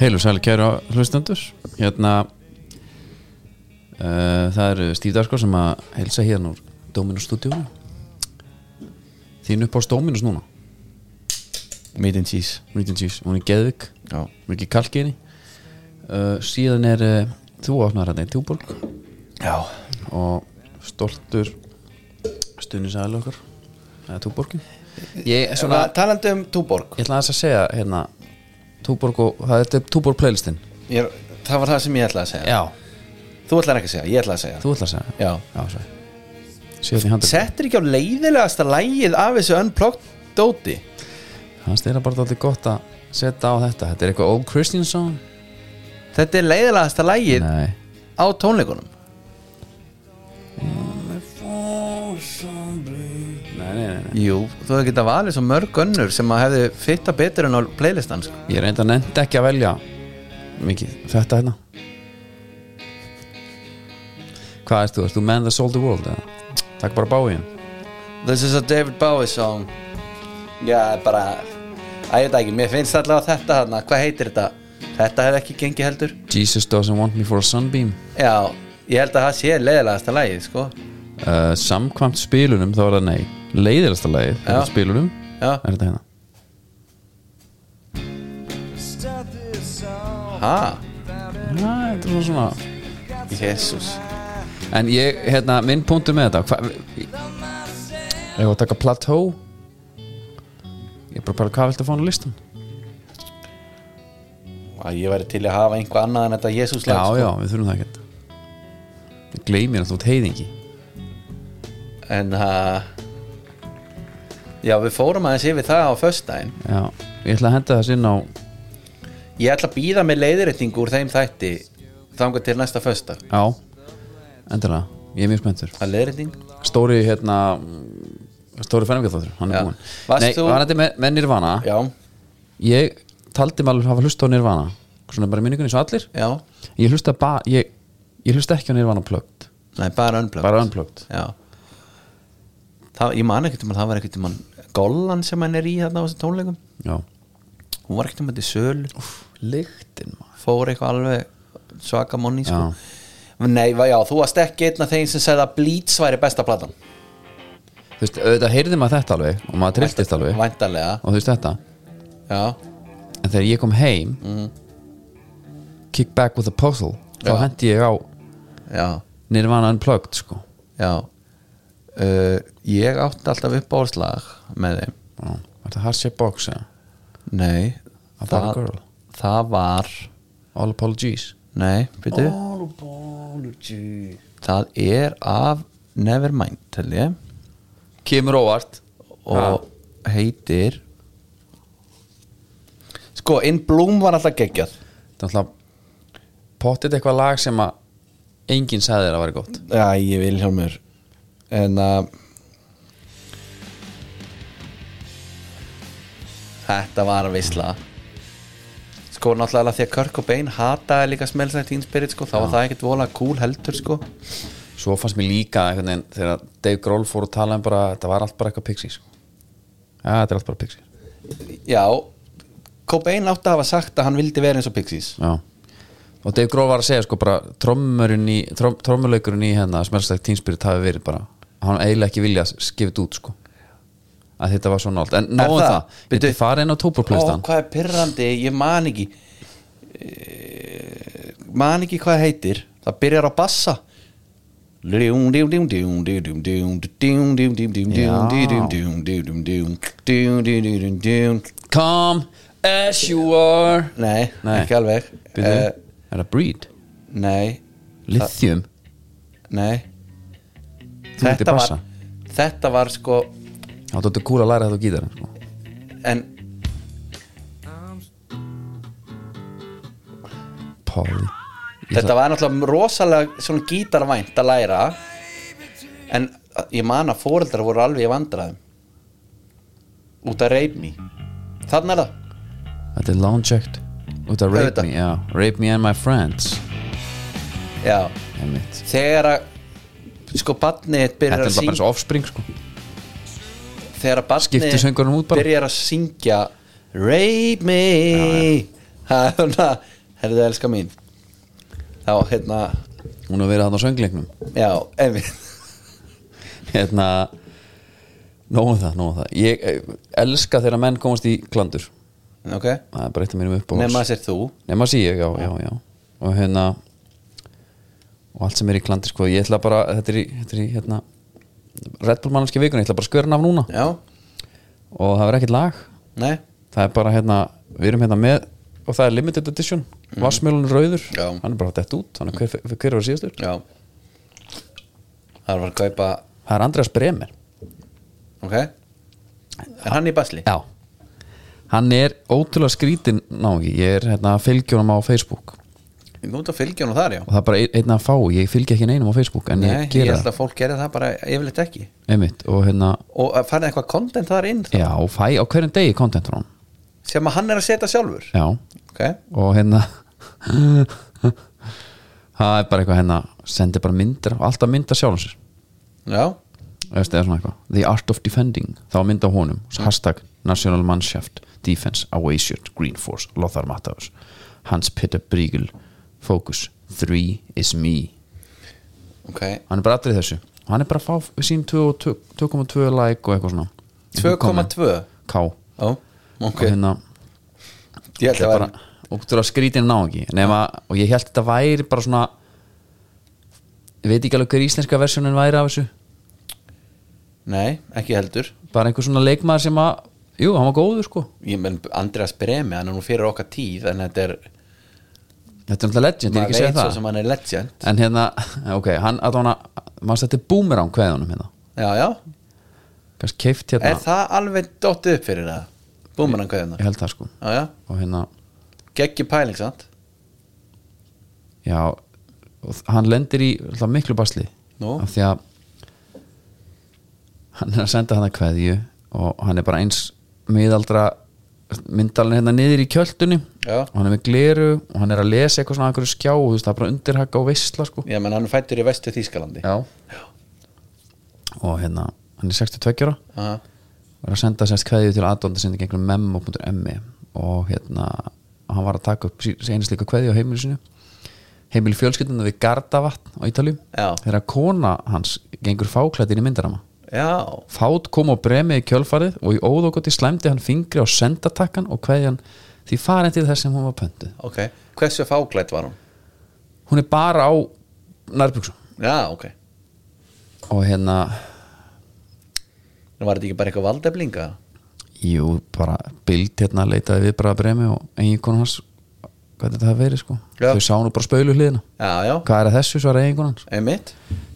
Heilu sæli kæra hlustendur Hérna uh, Það eru Stíf Darko sem að helsa hérna úr Dominus stúdíónu Þín upp á Dominus núna Meat and cheese Meat and Cheese, hún er geðvik Já, Mikið kalki henni uh, Síðan er uh, þú opnar hérna í Tjúborg já. Og stoltur Stunni sæli okkar Það er Tjúborgin Ég, Svona, svona, talandi um Túborg ég ætla aðeins að segja hérna Tjúborg og það er Tjúborg playlistin ég, Það var það sem ég ætlaði að segja Já, Þú ætlaði ekki að segja, ég ætlaði að segja þú ætla að segja Já. Já, sorry. Síðan í handið Settir ekki á leiðilegasta lægið af þessu unplugged dóti Hann stýra bara alltaf gott að setja á þetta Þetta er eitthvað Old Christian song Þetta er leiðilegasta lægið Nei á tónleikunum Nei, nei, nei, nei. Jú, þú hefði getað valið svo mörg önnur sem að hefði fitta betur en á playlistan sko. Ég reynda nefndi ekki að velja Mikið, þetta hérna Hvað ert þú? Ert þú Man That Sold The World? Eða? Takk bara báin This is a David Bowie song Já, bara Æ, ég veit ekki, mér finnst allavega þetta hana Hvað heitir þetta? Þetta hefði ekki gengið heldur Jesus Doesn't Want Me For A Sunbeam Já, ég held að það sé leiðilegasta lægið, sko uh, Samkvæmt spilunum þá er það nei Leiðilegsta lagið er Já. það spilunum Já, Er þetta hérna? ha, Næ, þetta er svona svona jésús En ég, hérna, minn punktur með þetta hva, Ég var að taka plateau Ég bara bara, hvað viltu að fá hann á listan? Að ég væri til að hafa einhvað annað en þetta jésús Já, lag sko. já, við þurfum það ekkert Ég gleymir að þú ert heiðingi En það Já, við fórum aðeins yfir það á föstudaginn Já, ég ætla að henda þess inn á Ég ætla að býða með leiðirreitingu úr þeim þætti Þangar til næsta föstudag Já, endilega, ég er mjög spenntur Það er leiðirreiting Stóri, hérna mm, Stóri fenningaþáttur, hann er Já. búinn Varst Nei, þú- var þetta með, með Nirvana Já, Ég taldi maður hafa hlust á Nirvana Svona bara í minningunni svo allir já, Ég hlusta, ba, ég, ég hlusta ekki á Nirvana plögt nei, bara önblöð Bara unplugged Já það, Ég man ekkert um að það var ekkert um hann Gollan sem hann er í þarna á þessum tónleikum Já Hún var ekkert um þetta í sölu Lyktin maður fór eitthvað alveg svaka monni sko. Já. Nei, va- já, þú varst ekki einn af þeim sem segði að Bleach væri besta platan Þú veist, auðvitað heyrði maður þetta alveg og maður trilltist alveg og Væntarlega, þú veist þetta já en þegar ég kom heim Kick Back with a Puzzle þá Já. hendi ég á Já, Nirvana Unplugged sko já uh, Ég átti alltaf upp áslag með þeim Já. Var þetta Hardship Box eða? Nei A það- Bad Girl. Það var All Apologies Nei, byrju All Apologies Það er af Nevermind, tel ég Kemur óvart Og heitir Sko, In Bloom var alltaf geggjað Það er alltaf pottið eitthvað lag sem að enginn sagði þér að vera gott Já, ég vil hjálmur En uh, að Þetta var að visla Sko náttúrulega því að Kirk og Bain hataði líka smelsnætt ínspirit sko, þá var það ekkert vola cool heldur sko Svo fannst mér líka einhvern veginn þegar Dave Grohl fór að tala um bara þetta var allt bara eitthvað pixie sko Já, þetta er allt bara pixie Já, Cobain átti að hafa sagt að hann vildi vera eins og Pixies Já Og Dave Grohl var að segja sko bara trommurinn í, trom, trommuleikurinn í hérna smelstækt tínspyrit hafi verið bara hann eiginlega ekki vilja skifið út sko að þetta var svona allt en nóðum það? það, það. Bíddu. Ég fara inn á Ó, tópurplistan hvað er pyrrandi, ég man ekki Eh, Man ekki hvað það heitir Það byrjar á bassa Nei, Come as you are Nei. ekki alveg Byrju, Eh, Er það Breed? Nei, Lithium? Eh. nei Þú heitir Þetta var Bassa. Þetta var sko Já, þetta er kúl að læra þetta á gítar sko. En Polly Þetta var náttúrulega rosalega svona gítarvænt að læra en ég man að fóreldrar voru alveg í vandræðum út að reyp me þannig er það Þetta er Lone Checked út af Rape Auðvitað. Me já. Rape Me and My Friends Já, Einmitt. þegar að sko barnið Þetta byrjar er að bara syngja eins og offspring sko. þegar að Skiptu söngurinn út barnið bara. byrjar að syngja reyp me það er svona herðu það elska mín þá hérna hún hefur verið hann á söngleiknum já, einmitt hérna nóðum það, nóðum það ég eh, elska þegar menn komast í klandur ok, það um er bara eitt af mínum uppáhalds nema sér þú nema sí ég, já, já, já og hérna og allt sem er í klandur, sko, ég ætla bara þetta er í, þetta er í hérna Red Bull mannarski vikun, ég ætla bara að skverna af núna já, og það er ekkert lag nei það er bara hérna, við erum hérna með og það er limited edition, mm. rauður Mhm. Já. hann er bara dett út, hann er hver, hver var síðastur já það var að kaupa það er Andreas Bremer ok, er hann í basli? Já Hann er ótrúlega skrítin nági Ég er hérna að fylgja honum á Facebook ég kom út að fylgja hann þar já og það er bara ein- einn að fá, ég fylgja ekki neinum á Facebook en nei, ég ég gera held að fólk gerir það bara yfirleitt ekki það einmitt og hérna, og að fara eitthvað content þar inn já, fæ á hverjum degi content frá hann, sem að hann er að setja sjálfur já ok, og hérna það er bara eitthvað hérna sendir bara myndir, alltaf mynda sjálfum sér já, Eftir, eða svona eitthvað, the art of defending þá var mynd á honum, hashtag national mannschaft, defense, away shirt green force, Lothar Matthaus Hans Peter Briegel, focus three is me ok hann er bara allir í þessu og hann er bara að fá sín 2 og 2 2,2 like og eitthvað svona 2,2 K Ó, ok, og hérna ég held það að er vera bara ótrúlega skrítin ná ekki nema, og ég held þetta væri bara svona ég veit ekki alveg hver íslenska versjónin væri af þessu nei, ekki heldur bara einhver svona leikmaður sem að jú, hann var góður sko ég menn Andreas Bremi, hann er nú fyrir okkar tíð en þetta er, þetta er alltaf legend, ég er maður ekki að segja veit svo það sem hann er legend en hérna, ok, hann að hana maður stætti boomerang kveðunum hérna já, já, kannski keift er hérna, það alveg dottið upp fyrir það búmur hann kveðina ég held það sko já, já, og hérna, geggjum pæling sant já og hann lendir í alltaf miklu basli Nú? af því að hann er að senda hann að kveðju og hann er bara eins miðaldra myndalinn hérna niður í kjöldunni Já. og hann er með gleru og hann er að lesa eitthvað svona að einhverju skjá og þú veist, það er bara undirhaka og veistla sko já, menn hann er fættur í vestu Þýskalandi Já. og hérna, hann er 62 ára Aha. var að senda sérst kveðju til aðdónda sinni gegnum memo.me og hérna hann var að taka upp sí- einu slíka kveðju á heimilu sinu heimilu fjölskyldinu við Gardavatn á Ítalju Já. þegar kona hans gengur fáklætt inn í myndarama já, fát kom og bremið í kjölfarið og í óðogoti slæmdi hann fingri á sendatakkan og kveðjan því farin til þess sem hún var pöntuð ok hversu fáklætt var hún? hún er bara á nærbuksum já, ok, og hérna, en var þetta ekki bara eitthvað valdeflinga? jú, bara bild hérna leitaði við bara að bremi og eiginkonu hans hvað þetta hafi verið sko Já. þau sá nú bara spölu hliðina já, já, hvað er að þessu svara eiginkonu hans einmitt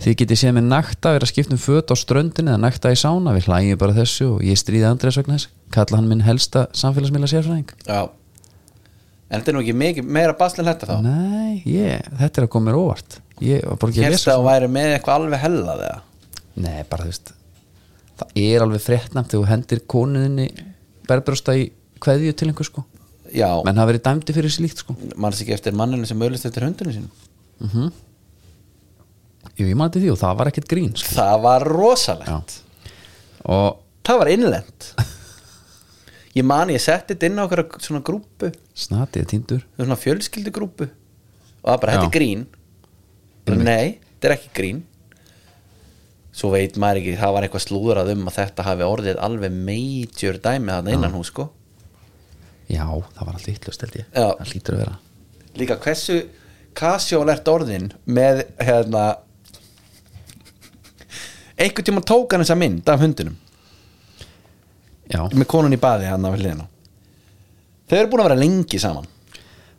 þið getið séð með nakta vera skipt um föt á ströndinu eða nakta í sána, við hlægjum bara þessu og ég stríði Andrés vegna þess kalla hann minn helsta samfélagsmiðla sérfræðing já en þetta er nú ekki mikið, meira basl en þetta þá nei, ég, þetta er að koma mér óvart ég var bara ekki að Hérst lesa að hún væri með eitthvað alveg hellað eða? nei, bara þú veist það er alveg fréttnæmt þegar þú hendir konuðinni berbrösta í kveðju til einhver sko Já, menn hafa verið dæmdi fyrir slíkt sko Mhm. mann sé ekki eftir manninu sem öllist eftir hundinu sínum Jú, ég mati því og það var ekkert grín sko. Það var rosalegt og Það var innlend Ég man ég setti þetta inn á okkur svona grúpu snatið er týndur svona fjölskyldugrúpu og það bara, Já. þetta er grín bara, Nei, þetta er ekki grín Svo veit maður ekki það var eitthvað slúðrað um að þetta hafi orðið alveg major dæmi þarna innan hún sko Já, það var alltaf ytlust held ég Já. Það hlýtur að vera Líka hversu kasjólert orðin með hérna einhvern tíma tók hann þessa mynd af hundinum Já, með konun í baði hann af hliðina þau eru búin að vera lengi saman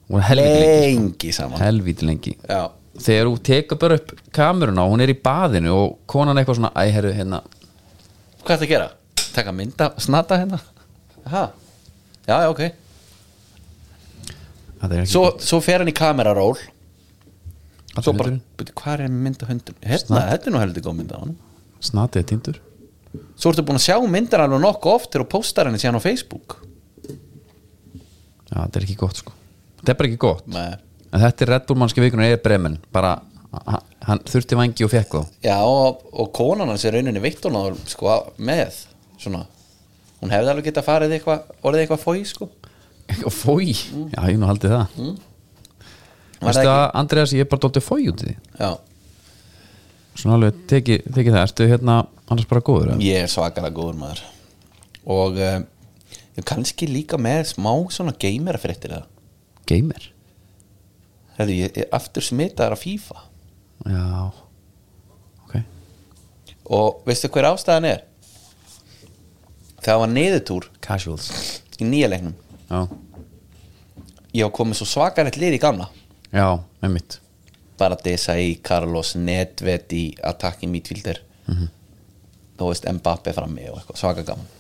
hún er helvítið lengi lengi saman Helvítið lengi já, Þegar hún tekur bara upp kameruna og hún er í baðinu og konan eitthvað svona Æ, herru, hérna hvað er það að gera? taka mynda, snata hérna ha, já, já, ok Það er ekki svo, svo fer hann í kameraról Allir svo bara, hundurinn. "Bíddu, hvað er mynd af hundum? hérna, þetta er nú heldur góð mynd af hann Snatið er týndur svo ertu búin að sjá myndar alveg nokkuð oft og póstar henni síðan á Facebook Já, þetta er ekki gott sko Þetta er bara ekki gott með En þetta er Red Bull mannski vikunum er bremen Bara, h- hann þurfti vangi og fekk þá Já, og, og konan hans er rauninni veitt hún á sko með svona, hún hefði alveg geta farið eitthvað, orðið eitthvað fói sko Mm. Og fói Já, ég hef nú haldið það Veistu að Andreas, ég er bara dóttið fói út í því já, Svona alveg, teki, teki það, ertu hérna annars bara góður eða? ég er svakalega góður maður og uh, ég er kannski líka með smá svona geimera fréttir það Gamer Hefði, ég er aftur smitaðar af FIFA Já Ok og veistu hver ástæðan er það var neyðutúr Casuals í nýja leiknum Já, ég var komið svo svakalegt lið í gamla já, með mitt bara Desai, Carlos, Nedved í attacking midfielder þú veist Mbappe frammi og eitthvað svaka gaman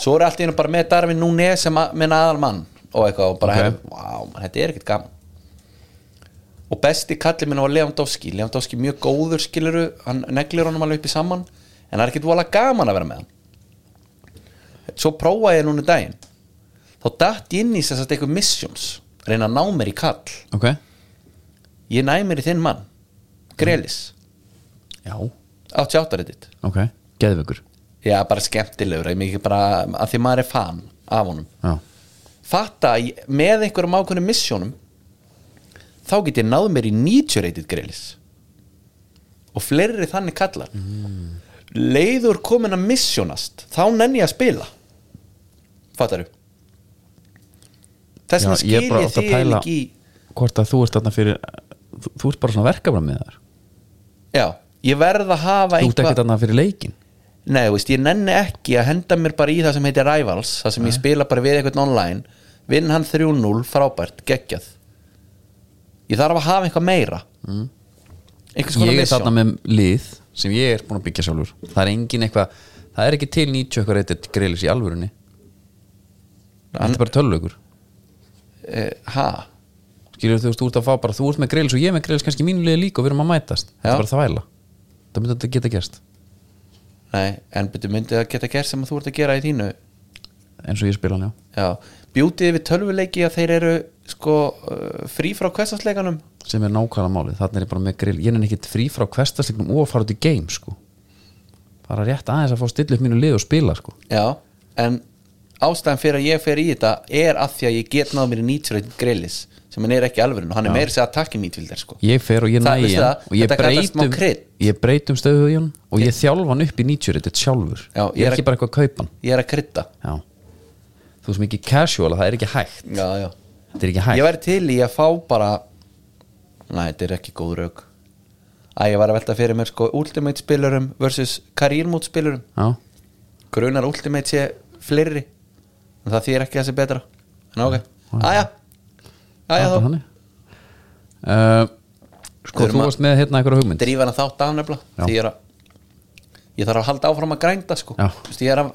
svo er allt í hennu bara með Darvin Núnes sem að- minn aðal mann og eitthvað og bara, Ok. okay. wow, man, þetta er ekkert gaman og besti kallið minn var Lewandowski Lewandowski mjög góður skiluru hann neglir honum alveg upp í saman en það er ekkert vola gaman að vera með hann svo prófaði ég núna í daginn þá datt ég inn í sem sagt eitthvað missions reyna að ná mér í kall Ok ég næ mér í þinn mann Grelis, Já 88 reddit Ok, geðvökur já, bara skemmtilegur, ég mikið bara að því maður er fan af honum Já, fatta að ég- með einhverjum ákveðnum missjónum þá get ég náð mér í 90 reddit Grelis og fleiri þannig kallar leiður komin að missjónast þá nenni ég að spila fattaru þess já vegna skil ég átti þig ekki í Hvort að þú ert þarna fyrir Þú, þú ert bara svona verkefna með þar já, ég verð að hafa Þú ert ekki þarna fyrir leikin Nei, þú veist, ég nenni ekki að henda mér bara í það sem heitir Rivals það sem ég spila bara við eitthvað online vinn hann 3-0, frábært, geggjað ég þarf að hafa eitthvað meira mm. einhvers konar Ég er misjón þarna með lið sem ég er búin að byggja sjálfur Það er engin eitthvað Það er ekki til 90 eitthvað reytið greilis í alvörunni Það er bara tölvökur eh, Ha? Skilur þú veist, þú ert að fá bara Þú ert með greilis og ég er með greilis kannski í mínu liði líka og við erum að mætast Það Já. er bara þvæla Það myndi þetta geta gerst Nei, en betur myndið að geta gert sem að þú ert að gera í þínu eins og ég spila hann, já Já, bjútið við tölvuleiki að þeir eru sko uh, frí frá kvessasleikanum sem er nákvæmlega málið, þannig er ég bara með grill ég er ekkit frí frá hverstasleiknum og að fara út í game sko. bara rétt aðeins að fá stilla upp mínu lið og spila sko. Já, en ástæðan fyrir að ég fer í þetta er að því að ég get náð mér í nýtsreit grillis sem hann er ekki alveg og hann er meira sér að takki nýtvildar sko ég fer og ég Það- næ í veistu hann það, og ég þetta kallast smá breytum, krydd. ég breytum stöðu í hann og ég þjálfa hann upp í 90 þetta sjálfur, Já, ég er ég er ekki bara eitthvað að kaupa hann ég er að krydda já. þú veist mikið casual að það er ekki hægt já, já. þetta er ekki ég hægt, væri til í að fá bara næ, þetta er ekki góð rauk að ég var að velta fyrir mér sko ultimate spilurum versus karírmót spilurum já, grunar ultimate sé fleiri en það þýr ekki þessi betra en ok, aðja það aðja er bara þá, þannig uh, Við sko erum þú að- varst með hérna einhverja hugmynd drífa hann þátt af Já. nefnilega því ég er að ég þarf að halda áfram að grænda sko Já. Vist, ég er að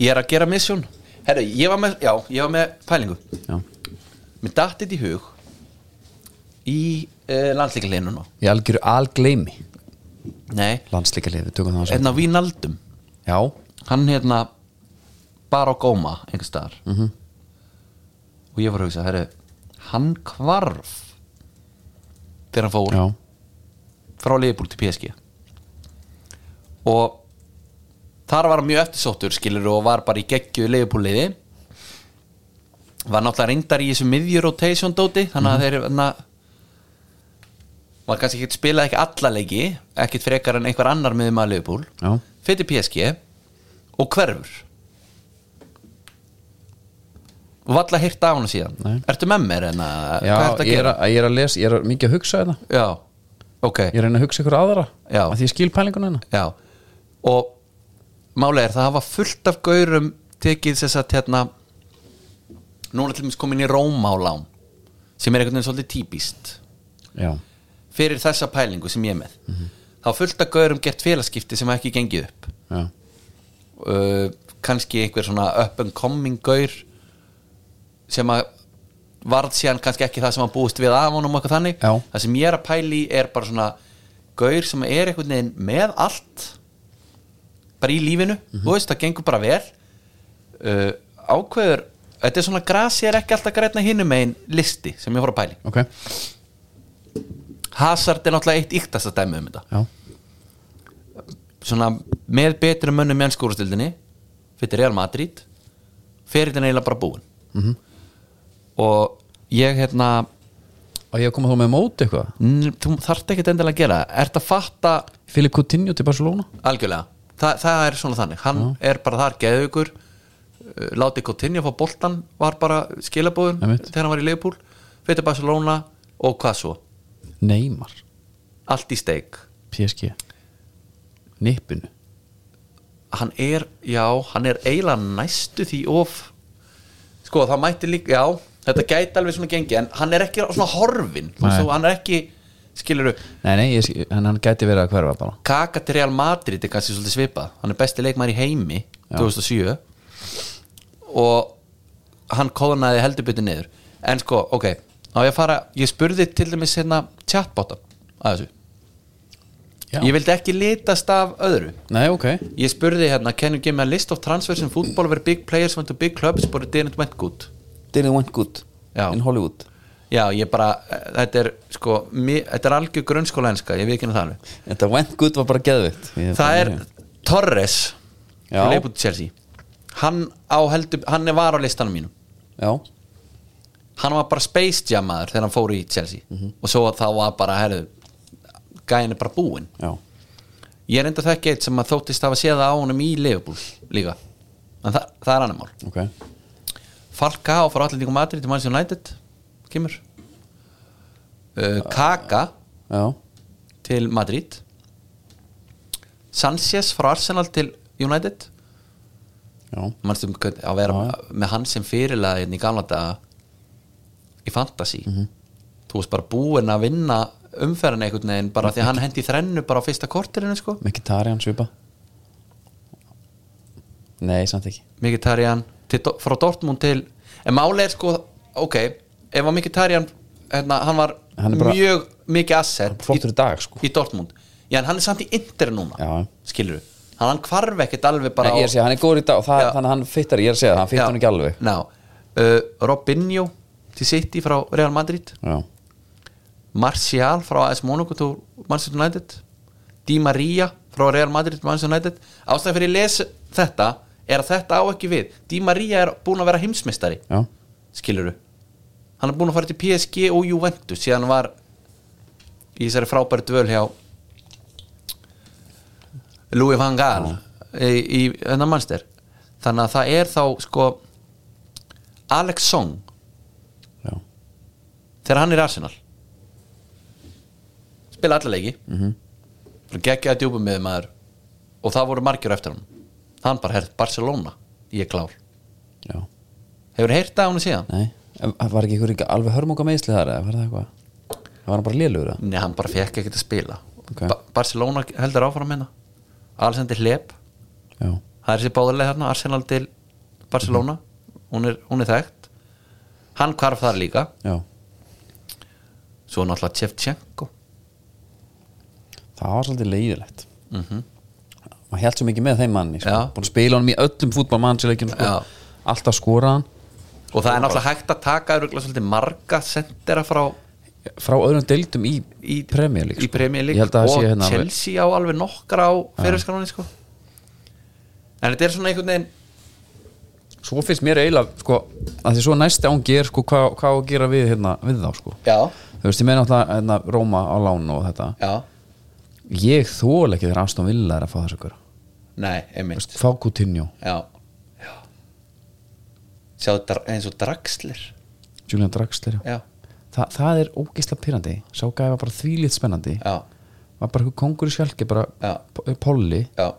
ég er að gera misjón herru, ég var með, já, ég var með pælingu já. mér datt þetta í hug í uh, landslíkaleinu nú ég algjöru algleimi nei, landsleika lið, við tökum það saman. hérna Vínaldum já, hann hérna bara á góma einhvers staðar mhm. -hmm. og ég var að hugsa, herri hann kvarf þegar hann fór já, frá liðbúl til PSG og þar var hann mjög eftirsóttur skilur og var bara í geggju liðbúliði var náttúrulega reyndar í þessu miðjurotation dóti þannig Mhm. að þeir na, var kannski ekkert spilaði ekki alla leiki ekkert frekar en einhver annar miðum að liðbúl já fyrir PSG og hverfur og valla hýrt af hann síðan Nei. ertu með mér en að Já, hvað ertu að ég er gera að, ég er að lesa, ég er að mikið að hugsa þetta já, ok, Ég er að reyna að hugsa ykkur aðra Já. að Því ég skil pælinguna hérna. hennar já og málið er það hafa fullt af gaurum tekið þess að hérna núna til mér komin í Róma á lán sem er einhvern veginn svolítið típist Já, fyrir þessa pælingu sem ég er með þá hafa fullt af gaurum gert félagskipti sem hafa ekki gengið upp já, uh, kannski einhver svona up and coming gaur sem að varð síðan kannski ekki það sem að búist við af honum og eitthvað þannig Já. það sem ég er að pæli er bara svona gaur sem er einhvern veginn með allt bara í lífinu þú veist, það gengur bara vel uh, ákveður þetta er svona grasi er ekki alltaf grætna hinum megin listi sem ég fór að pæli ok Hazard er náttúrulega eitt yktast að dæmi um þetta Já, svona með betri mönnum í ennskúrastildinni hérna fyrir Real Madrid ferillin er eiginlega bara búin -hmm. og ég hérna og ég að koma þá með móti eitthvað n- þú þarft ekkert endilega að gera það. ert að fatta Filip Coutinho til Barcelona algjörlega, Þa, það er svona þannig hann er bara þar geðugur láti Coutinho fá boltan var bara skilabóðun Einmitt. þegar hann var í Leipúl fyrir Barcelona og hvað svo Neymar, allt í steik PSG Nippinu hann er, já, hann er eiginlega næstu því of sko, það mætti líka, já, þetta gæti alveg svona gengi, en hann er ekki svona horfin þú veist Nei. þú, hann er ekki, skilur Nei, nei, ég, skil- en hann gæti verið að hverfa bara Kaka til Real Madrid er kannski svolítið svipað hann er besti leikmaður í heimi 2007 og hann kóðnaði heldurbyrti niður en sko, ok, þá ég að fara ég spurði til dæmis hérna chatbotan að þessu, Já. ég vildi ekki litast af öðru Nei, ok ég spurði hérna, can you give me a list of transfers in football where big players went to big clubs but it didn't went good Didn't went good Já. in Hollywood já, ég bara, eh, þetta er sko, mi, þetta er algjör grunnskólenska ég við ekki það alveg, Þetta went good var bara geðvitt það er Torres Já. leifbúti Chelsea hann á heldur, hann er var á listanum mínum Já, hann var bara space jammaður þegar hann fór í Chelsea og svo þá var bara, herðu gæin er bara búinn já ég er enda þekki eitt sem að þóttist hafa séð það á honum í leifbúl líka en það, það er annar mál Ok Falcao frá Atlético Madrid til Manchester United kemur uh, Kaka Já til Madrid Sanchez frá Arsenal til United Já, mannstu að vera með hann sem fyrirlega hérna í gamla daga í fantasy þú veist bara búinn að vinna umferðin einhvern veginn bara því að hann hendi þrennu bara á fyrsta korterinu sko Mkhitaryan svipa Nei, samt ekki Mkhitaryan til, Do- frá Dortmund til en máli er sko, ok ef að Mkhitaryan, hérna, hann var Hann er bara- mjög mikið asset Flottur í dag, sko í Dortmund já, en hann er samt í Inter núna Já. skilur við, hann, hann kvarf ekkert alveg bara Nei, ég er að segja, hann er góður í dag og það, Já. þannig að hann fittar, ég er að segja, það, hann fittar hann ekki alveg ná, uh, Robinho til City frá Real Madrid Já, Martial frá AS Monaco til Manchester United Di Maria frá Real Madrid til Manchester United ástæðan fyrir ég les þetta er að þetta á ekki við Di Maria er búin að vera heimsmeistari já, skiluru hann er búin að fara til PSG og Juventus síðan hann var í þessari frábæri dvöl hjá Louis van Gaal í, í hennar mannster þannig að það er þá sko Alex Song já þegar hann er í Arsenal spila alla leiki mm -hmm. geggjaði djúpum með maður og það voru margjur eftir hann hann bara herð Barcelona ég er klár Já, hefur heyrt það á hann síðan? nei, En var ekki ykkur ekki alveg hörmunga meðsli þar eða var það eitthvað það var hann bara lélugur það Nei, hann bara fekk ekkert að spila Ok. ba Barcelona heldur áfram hérna Alexander Hleb Já, það er sér báðarlega hérna, Arsenal til Barcelona Mhm. hún, er, hún er þekkt hann hvarf þar líka já, svo náttúrulega Tjevtjenko það var svolítið leiðilegt mm -hmm. maður held svo mikið með þeim manni sko. Mhm. Já. búin að spila honum í öllum fútbolmannsleikin sko. Já. alltaf skora hann og það er náttúrulega hægt að taka örugglega svolítið marga sendera frá frá öðrum deildum í, í í, Premier League sko. í Premier League ég held að það sé og hérna alveg- Chelsea á alveg nokkra á fyrirskanáni sko. en þetta er svona einhvern veginn svo finnst mér eiginlega sko, að því svo næsti ángi er sko, hvað hva að gera við, hérna, við þá sko. já, þú veist, ég meina alltaf hérna, Róma á lánu og þetta já, ég þól ekki þegar Aston Villa er að fá þessu ykkur nei, einmitt fá Coutinho, já, já. sjá dra- eins og dragslir Julian Draxler já, Þa, það er ógisla pyrrandi sá gæði var bara þvílið spennandi já, var bara einhver kongur í sjálki bara Já. p- eh, polli já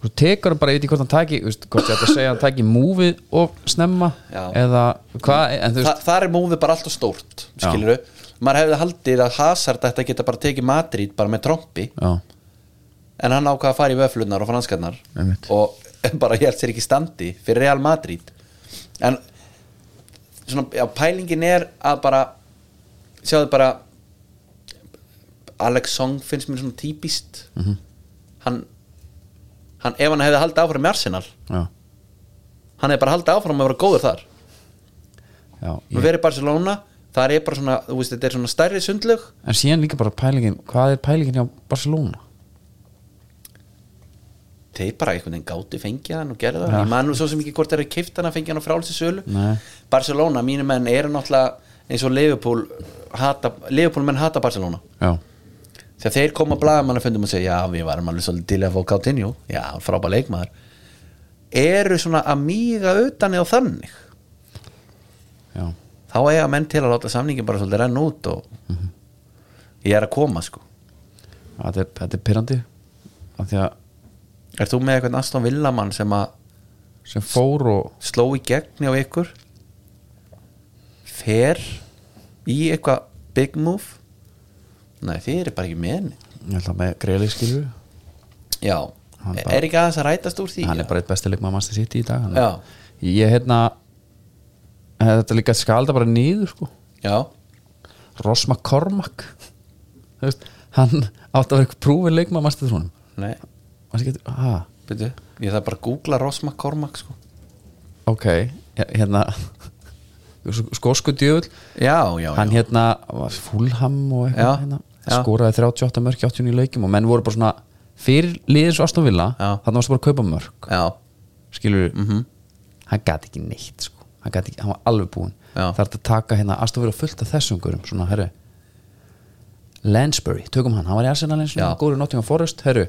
svo tekur hann bara, ég veit ekki hvort hann tæki veist, hvort ég ætla að segja hann tæki múfið og snemma Já. eða hvað en þú Þa, veist, það er móðið bara alltaf stórt skilur maður hefði haldið að Hazard þetta geta bara tekið Madrid bara með trompi já, en hann ákvað að fara í vöflunar og franskarnar Einmitt. og bara hélt sér ekki í standi fyrir Real Madrid en svona, já, pælingin er að bara sjáðu bara Alex Song finnst mér svona típist Mhm. -hmm. hann, hann ef hann hefði haldið áfram í Arsenal já, hann hefði bara haldið áfram að vera góður þar já yeah. ég, verið Barcelona, það er bara svona þú veist, þetta er svona stærri sundlög en síðan líka bara pælingin hvað er pælingin hjá Barcelona þeir bara einhvern veginn gátu fengið hann og gerði það ég man nú svo sem ekki hvort þeir eru keift hann að fengið hann á frálsi sölu Nei. Barcelona, mínu menn eru náttúrulega eins og Liverpool hata, Liverpool menn hata Barcelona já, þegar þeir koma að blaða mann að fundum og segja já, við varum alveg svolítið til að fá Coutinho já, frábæð leikmaður eru svona að míga utan eða þannig já, þá eiga menn til að láta samningin bara svolítið renn út og ég er að koma sko þetta er, þetta er pyrrandi af því að Er þú með eitthvað Aston Villamann sem að sem fór og sló í gegni á ykkur fer í eitthvað big move Nei, þið eru bara ekki með henni ég held að með greiðleik skilju Já, Hann er bara- ekki aðeins að rætast úr því hann er bara eitt besti leikmaður Master City í dag hann- Já. ég hérna þetta líka skalda bara nýður sko Já, Ross McCormack Þú veist, hann átti að vera eitthvað prúfið leikmaður Master Trónum nei, ah, byrju Ég þarf bara að googla Rosma Kormak sko ok, Ég- hérna skosku djöfull Já, já, hann já hérna var fúlham og Já, eitthvað hérna, já. skoraði 38 mörk í 89 leikjum og menn voru bara svona fyrir liðis og Aston Villa Já. Mhm. þannig varstu bara að kaupa mörk Já, skilur hann gæti ekki neitt sko. hann, gat ekki, hann var alveg búinn Já. það er að taka hérna Aston Villa fullt af þessum gurum svona herru Lansbury, tökum hann, hann var í Arsenal eins og Já. hann góður í Nottingham Forest, herru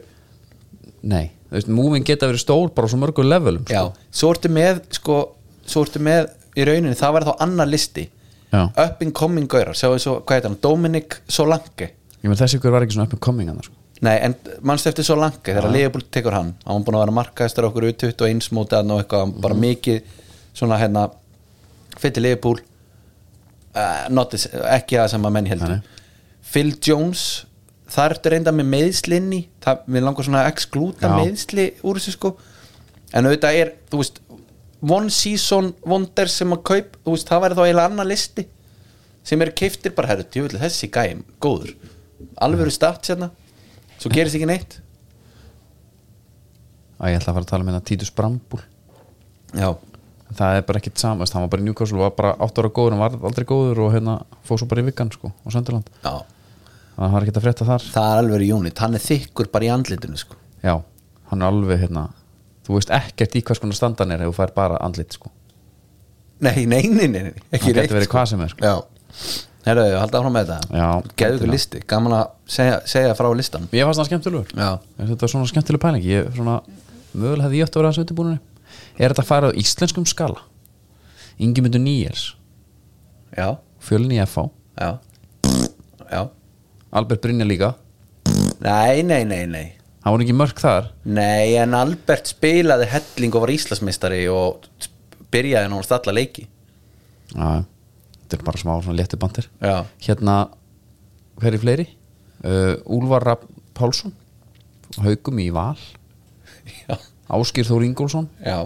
nei, þú veist, múmin geta verið stór bara á svo mörgum levelum já sko. Svo ertu með, sko Svo ertu með í rauninni, það var þá annar listi Já. Up and coming gaurar, sjáðu svo, hvað heitir hann Dominic Solanke ég menn þessi ykkur var ekki svona upp með coming hann sko. Nei, en mannstu eftir svo langi þegar Leopold tekur hann, hann var búin að vera markaðistar okkur út 21 mótið hann og eitthvað bara mikið svona hérna fyrir Leopold uh, not this, ekki það sem að menn heldur Nei. Phil Jones þar ertu reynda með meðslinni það, við langar svona að exklúta Já. meðsli úr þessu sko en auðvitað er, þú veist one season wonder sem að kaup þú veist, það væri þá eiginlega annar listi sem eru keiftir bara, herru, tjóðlega þessi gæm góður, alveg eru start sérna svo gerist ekki neitt að ég ætla að fara að tala með það Títus Brambúl já, það er bara ekkit sama, veist, hann var bara í Newcastle var bara 8 ára góður, hann var aldrei góður og hérna fóð svo bara í vikan sko, á Sönderland já, hann var ekkit að frétta þar það er alveg eru unit hann er þykkur bara í andlitinu sko Já, hann er alveg hérna Þú veist ekkert í hvers konar standan er ef þú fær bara andlit sko nei, nei, nei, nei, nei, ekki Hann reitt geti verið hvað sem er sko já, herru, halda áfram með Já, þetta geðu ykkur endilega. listi, gaman að segja, segja frá listan Ég fannst það skemmtilegur já, Mér finnst Þetta var svona skemmtileg pæling Ég svona, mögulega hefði ég ætti að vera þessu undirbúinni Er þetta að fara á íslenskum skala? Ingimundur Níels já, Fjölni í FH já já, Albert Brynja líka nei, nei, nei, nei Hann voru ekki mörg þar nei, en Albert spilaði helling og var Íslandsmeistari og byrjaði nú að stalla leiki Já, Þetta er bara smá svona léttu bandir já, Hérna, hver er fleiri? Uh, Úlfar Rapp Pálsson Haugum í Val já, Áskýr Þór Ingólfsson já,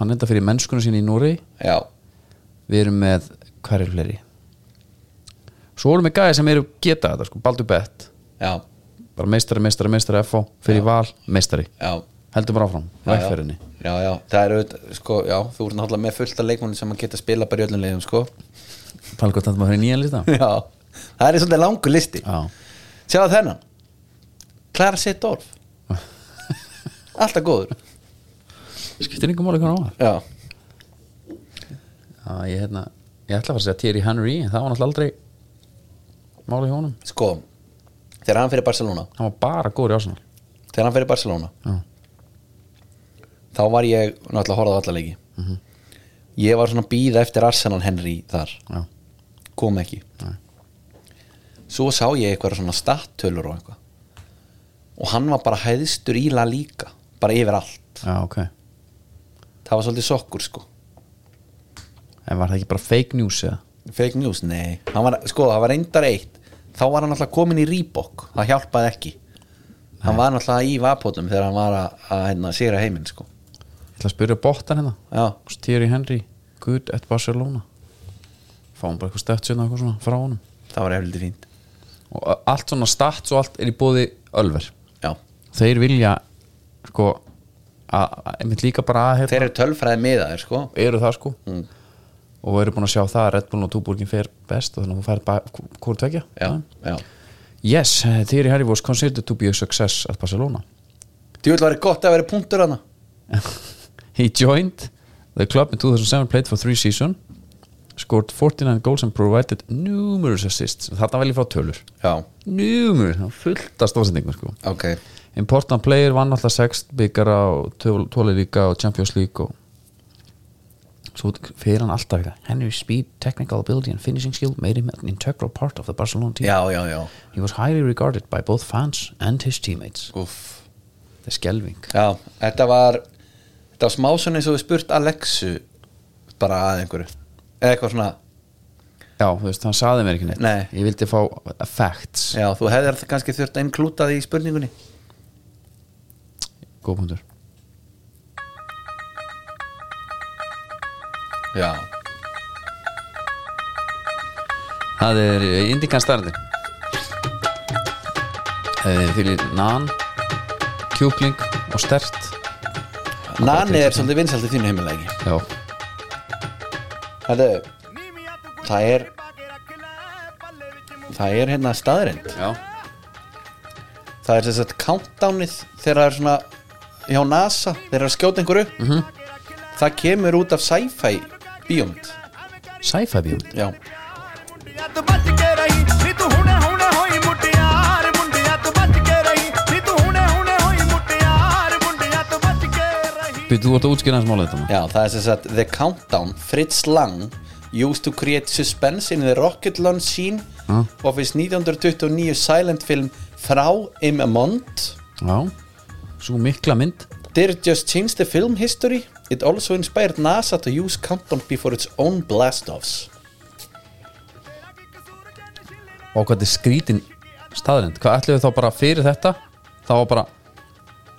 Hann enda fyrir mennskunum sín í Noregi já við erum með hverjir fleiri svo erum við gæði sem eru geta þetta sko, Baldur Bett, já, bara meistari, meistari, meistari FO, fyrir val, meistari já heldur bara áfram, Já, já. vegferðinni já, já, það eru, sko, já, þú ert náttúrulega með fullt af leikmunni sem að geta spila bara í öllum leiðum, sko tala gott að maður fyrir nýjan lista já, það er svolítið langur listi já, sjáðu þennan Clara Sittdorf alltaf góður skiptir einhver máli hvernig á var já, já, ég, hérna, ég ætla að fara að segja Thierry Henry en það var náttúrulega aldrei máli hjá honum, sko þegar hann fyrir Barcelona hann var bara góður í ásanal þegar hann fyrir Barcelona Já. þá var ég náttúrulega horfði á alla leiki Mhm. ég var svona að býða eftir Arsenal Henry þar já, kom ekki Nei. svo sá ég eitthvað svona stattölur og eitthvað og hann var bara hæðistur íla líka bara yfir allt, já, ok en það var svolítið sokkur sko var það ekki bara fake news eða? fake news, nei Hann var, sko, það var reyndar eitt þá var hann alltaf komin í Reebok það hjálpaði ekki hann var alltaf í vapotum þegar hann var að, að hérna, sýra heiminn sko ég ætla að spyrja bóttan hérna já, Thierry Henry, good at Barcelona fáum bara eitthvað stætt sérna eitthvað svona frá honum það var efliti fínt og allt svona stats og allt er í bóði Ölver já. þeir vilja sko að, að- einmitt líka bara að þeir hérna, eru tölfræði miðaðir sko eru það sko og eru búin að sjá það að Red Bull og Túborgin fer best og þannig að hún fær bara hvort tvekja já, já, yes, Thierry Henry was considered to be a success at Barcelona Þú vil vera gott að vera punktur hana He joined the club in 2007 played for three season scored 49 goals and provided numerous assists þetta vel ég frá tölur Já, numerous, það var fullt af stóðsendingum sko. ok important player vann alltaf 6 byggara og tóli líka og Champions League og svo fyrir hann alltaf eitthvað Henry speed, technical ability and finishing skill made him an integral part of the Barcelona team Já, já, já he was highly regarded by both fans and his teammates Úff það er skelving Já, þetta var þetta var smá svona eins og við spurt Alexu bara að einhverju eða eitthvað svona, já, þú veist, hann saði mér ekki neitt Nei. ég vildi fá facts já, þú hefðir kannski þurft að inklúta því í spurningunni góð punktur Já, það er eh, Indikan starðin Eh, fyrir nan kjúkling og stert Nani er svolítið vinsælt í þínu heimilegi já, Þetta, það er það er hérna staðrind já, það er þess að countdownið þegar það er svona hjá NASA þegar það er að skjóta einhverju -hmm. það kemur út af sci-fi bíómynd sci-fi bíómynd Já, ਮੁੰਡਿਆ ਤੂੰ ਬਚ ਕੇ ਰਹੀ ਨੀ ਤੂੰ ਹੁਣੇ ਹੁਣੇ ਹੋਈ ਮੁਟਿਆਰ ਮੁੰਡਿਆ ਤੂੰ ਬਚ ਕੇ ਰਹੀ ਨੀ ਤੂੰ ਹੁਣੇ ਹੁਣੇ ਹੋਈ ਮੁਟਿਆਰ ਮੁੰਡਿਆ ਤੂੰ ਬਚ ਕੇ ਰਹੀ Býttu, þú ert að útskýra hans málið þetta já það er þess að The Countdown, Fritz Lang used to create suspense in the rocket launch scene of his 1929 silent film Frau im Mond maður. Já, svo mikla mynd Did it just change the film history? It also inspired NASA to use countdown before its own blast-offs og hvað þetta er skrítin staðrind hvað ætlum við þá bara fyrir þetta þá var bara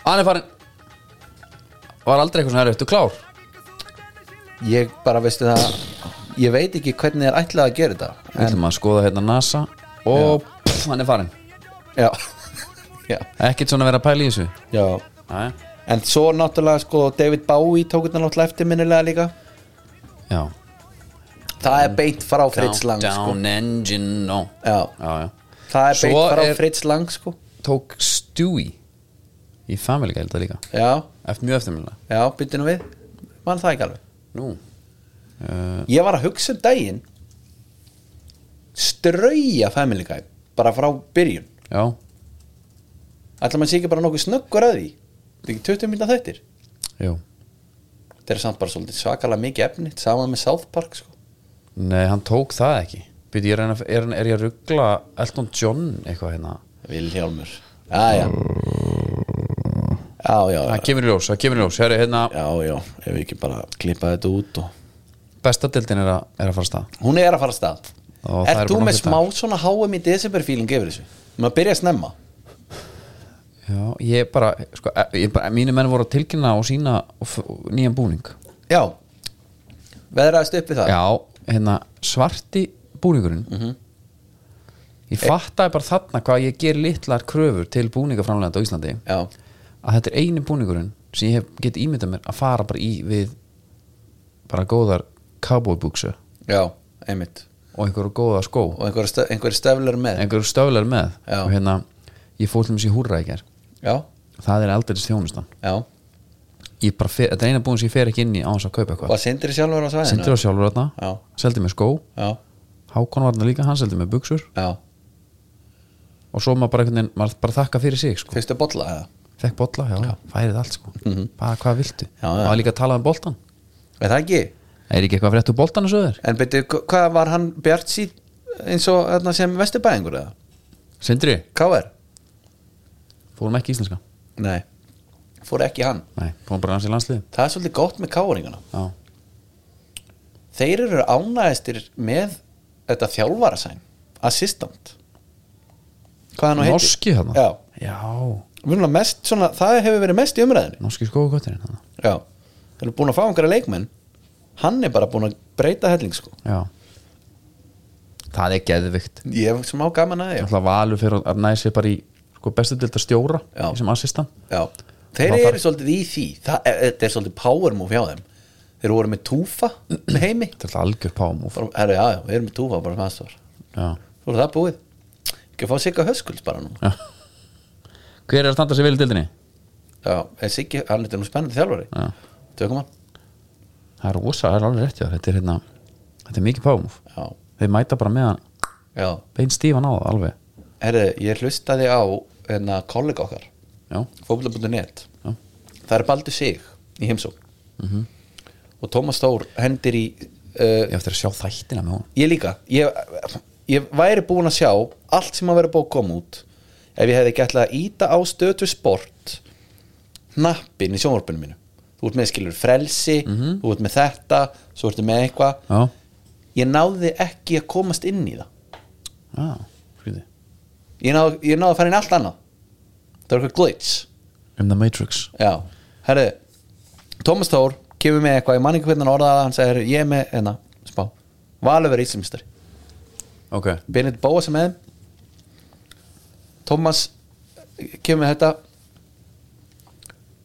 hann er farin var aldrei eitthvað svona erfitt og klár Ég bara veistu það Ég veit ekki hvernig er ætlað að gera þetta við ætlum að skoða hérna NASA og pff, hann er farin Já Já, ekkert svona að vera að pæla í þessu já. Æ. En svo náttúrulega sko David Bowie tók þetta náttúrulega eftirminnilega líka já Það er beint frá Fritz Lang sko. Countdown engine no. Já. já, já. Það er Svo beint frá er- Fritz Lang sko. tók Stewie í Family Guy held að líka Já, eftir mjög eftirmjöla já, byttu nú við Man það ekki alveg nú Eh, Ég var að hugsa um daginn Strauja Family Guy Bara frá byrjun já Ætla maður sé ekki bara nokkuð snöggur að því Þetta er ekki 20 mínúta þettir jú Þetta er samt bara svolítið svakalega mikið efni Saman með South Park sko. Nei, hann tók það ekki Býtu, ég er, að- er, er ég að ruggla Elton John eitthvað hérna Vilhjálmur Já, já Já, já, Það kemur í ljós, það kemur í ljós Heri, hérna, já, já Ef við ekki bara klippa þetta út og... Besta dildin er, að- er að fara af stað Hún er að fara af stað Ó, það Ert eru þú bara með nokkrir smá svona háum í desember feeling yfir þessu Maður byrja að snemma Já, ég bara, sko, ég bara Mínu menn voru að tilkynna og sína og f- og nýjan búning Já Veðraðist upp við það Já, hérna, svarti búningurinn Ég fattaði bara þarna hvað ég ger litlar kröfur til búningaframlegandi á Íslandi já, að þetta er eini búningurinn sem ég hef get ímyndað mér að fara bara í við bara góðar cowboy buksu já, einmitt og einhverju góða skó Og einhverja stöf, einhver stöflur með einhverju stöflar með Já. og hérna, ég fór til mér sér húrra í gær Já, það er aldeilis þjónustan já ég bara fer, þetta er eina búin sem ég fer ekki inn í á þess að kaupa eitthvað Var sindri sjálfur á svæðinu? sendur á sjálfur Já. þarna, seldi mér skó Já, Hákon var þarna líka, hann seldi mér buksur já og svo maður bara einhvern veginn, maður bara þakka fyrir sig sko. Fyrstu bolla eða? fekk bolla, já, já, færið allt sko. bara hvað viltu, Mhm. Já, já. og það líka að tala um boltan Er það ekki? er ekki eitthvað frétt úr boltan að söður En byrju, hva- hvað var hann Bjart síð eins og þarna sem vesturbæðingur eða? Sindri, K.R. fórum ekki íslenska Nei, fór ekki í hann nei, fórum bara hans í landslið Það er svolítið gott með káringana já, Þeir eru ánæðistir með þetta þjálfarasæn Assistant Hvað hann á heitir? norski þarna Já, já, Vunlega mest svona, það hefur verið mest í umræðinu norski skókottirinn þarna Já, þeir eru búin að fá einhverja leikmenn Hann er bara búin að breyta helling sko Já Það er geðvikt Ég hef smá gaman að því Alltaf valur fyrir að næða sér bara í sko, bestu dildar stjóra Já. sem assistan Já, þeir Það eru þarf- svolítið í því Það er, þetta er svolítið power move hjá þeim Þeir voru með túfa með heimi Þetta er alltaf algjör pámúf Bara, herru, já, já, við erum með túfa bara með aðstofar Já. Svo er það búið Ekki að fá sigga höskuls bara nú Já. Hver er að standa sér vel í dildinni? já, en Siggi, hann er nú spennandi þjálfari Já. tökum hann það er rosa, það er alveg rétt hjá þér. þetta er hérna, þetta er mikið páfumúf já, þeir mæta bara með hann já, bein stífan á það alveg herri, ég hlustaði á hérna kollega okkar já, fókbla.net Já. Mhm. það er Baldur Sig í heimsók og Tómas Þór hendir í uh, ég á eftir að sjá þættina með honum ég líka ég, ég væri búin að sjá allt sem að vera búið að koma út ef ég hefði ekki ætlað að íta á stötu sport hnappin í sjónvarpinu mínu þú ert með skilur frelsi Mhm. þú ert með þetta, svo ertu með eitthvað já, ég náði ekki að komast inn í það já, skrýði ég náði, ég náði að fara inn í allt annað það var eitthvað glitch um The Matrix Já, herri Tómas Þór kemur með eitthvað, ég man ekki hvernig hann orðaði það, hann sagði, "Herri, ég er með, enna, spá Valur verið íslumistari, ok, Benedikt Bóas er með þeim. Tómas kemur með þetta